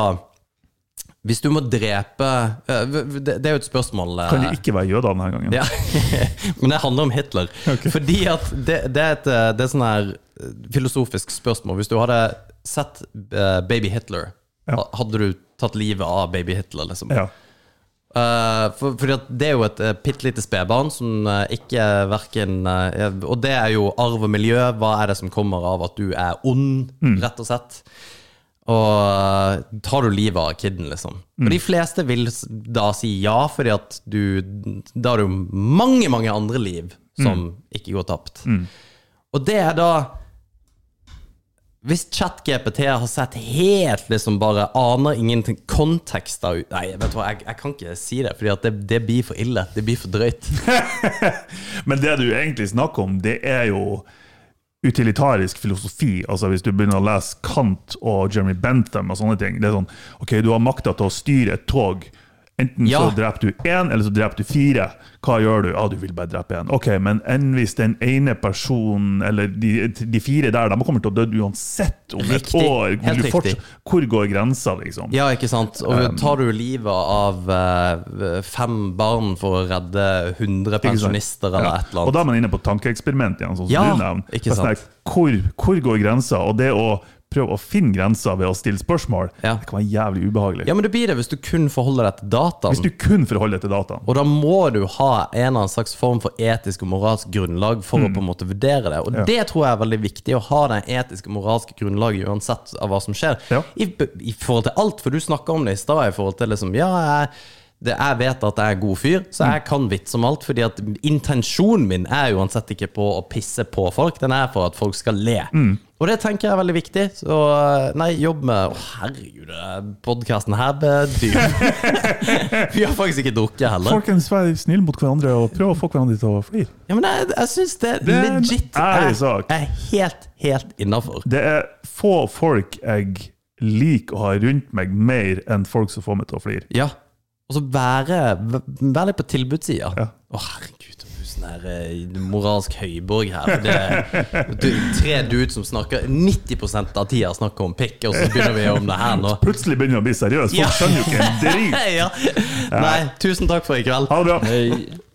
[SPEAKER 1] Hvis du må drepe eh, v- v- Det det er jo et spørsmål eh,
[SPEAKER 2] Kan det ikke være jøder denne gangen?
[SPEAKER 1] Ja, <laughs> Men det handler om Hitler. Fordi at det, det er et eh, det er sånn her eh, filosofisk spørsmål. Hvis du hadde sett eh, Baby Hitler, ha- hadde du tatt livet av Baby Hitler, liksom?
[SPEAKER 2] Ja.
[SPEAKER 1] Eh, for, fordi at det er jo et uh, bitte lite spedbarn som eh, ikke verken eh, Og det er jo arv og miljø. Hva er det som kommer av at du er ond, rett og slett? Og eh, tar du livet av kiden, liksom? Og de fleste vil s- da si ja, fordi at du Da har du mange, mange andre liv som ikke går tapt. Og det er da hvis ChatGPT har sett helt liksom bare aner ingenting kontekst av Nei, vet du hva, jeg, jeg kan ikke si det, fordi at det, det blir for ille. Det blir for drøyt.
[SPEAKER 2] Men det du egentlig snakker om, det er jo utilitarisk filosofi. Altså Hvis du begynner å lese Kant og Jeremy Bentham og sånne ting Det er sånn OK, du har makta til å styre et tog. Enten
[SPEAKER 1] Ja.
[SPEAKER 2] så dreper du én, eller så dreper du fire. Hva gjør du? Ja, du vil bare drepe én. OK, men enn hvis den ene personen, eller de, de fire der, de kommer til å dø uansett om et
[SPEAKER 1] Riktig.
[SPEAKER 2] år. Vil
[SPEAKER 1] Helt
[SPEAKER 2] du fortsatt-
[SPEAKER 1] riktig.
[SPEAKER 2] Hvor går grensa, liksom?
[SPEAKER 1] <laughs> Ja, ikke sant? Og tar du livet av eh, fem barn for å redde 100
[SPEAKER 2] Ikke sant?
[SPEAKER 1] pensjonister eller
[SPEAKER 2] Ja.
[SPEAKER 1] et eller
[SPEAKER 2] Og
[SPEAKER 1] annet?
[SPEAKER 2] da er man inne på tankeeksperiment igjen, sånn som
[SPEAKER 1] Ja,
[SPEAKER 2] du nevner.
[SPEAKER 1] ikke
[SPEAKER 2] Det er sånn
[SPEAKER 1] sant.
[SPEAKER 2] her, Hvor, hvor går grensa? Og det å prøve å finne grensa ved å stille spørsmål,
[SPEAKER 1] Ja.
[SPEAKER 2] det kan være jævlig ubehagelig.
[SPEAKER 1] Ja, men det blir det hvis du kun forholder deg til
[SPEAKER 2] Hvis
[SPEAKER 1] dataen.
[SPEAKER 2] du kun forholder deg til dataen.
[SPEAKER 1] Og da må du ha en eller annen slags form for etisk og moralsk grunnlag for å på en måte vurdere det. Og
[SPEAKER 2] Mm. Ja.
[SPEAKER 1] det tror jeg er veldig viktig, å ha det etiske og moralske grunnlaget uansett av hva som skjer.
[SPEAKER 2] Ja.
[SPEAKER 1] I, I forhold til alt, for du snakka om det i stad, i forhold til liksom Ja, jeg, det, jeg vet at jeg er god fyr,
[SPEAKER 2] Mm.
[SPEAKER 1] så jeg kan vits om alt, fordi at intensjonen min er uansett ikke på å pisse på folk, den er for at folk skal le.
[SPEAKER 2] Mm.
[SPEAKER 1] Og det tenker jeg er veldig viktig. Så nei, jobb med Å, herregud, podkasten her ble dyr.
[SPEAKER 2] <laughs>
[SPEAKER 1] Vi har faktisk ikke drukket heller.
[SPEAKER 2] Folkens, vær snille mot hverandre og prøv å få hverandre til å flire.
[SPEAKER 1] Ja, men jeg, jeg syns det,
[SPEAKER 2] Det er en
[SPEAKER 1] legit
[SPEAKER 2] ærlig
[SPEAKER 1] er,
[SPEAKER 2] sak.
[SPEAKER 1] er helt, helt innafor.
[SPEAKER 2] Det er få folk jeg liker å ha rundt meg mer enn folk som får meg til å flire.
[SPEAKER 1] Ja. Og så være, v- være litt på tilbudssida.
[SPEAKER 2] Ja.
[SPEAKER 1] Å, herregud, du er sånn her eh, moralsk høyborg her. For det er du, tre dudes som snakker 90 av tida snakker om pikk, og så begynner vi om det her
[SPEAKER 2] <laughs>
[SPEAKER 1] nå.
[SPEAKER 2] Plutselig begynner jeg å bli seriøs, folk
[SPEAKER 1] Ja.
[SPEAKER 2] skjønner jo ikke en drit.
[SPEAKER 1] ja. Nei, tusen takk for i kveld. <laughs> Eh,
[SPEAKER 2] Ha det bra.
[SPEAKER 3] Hei.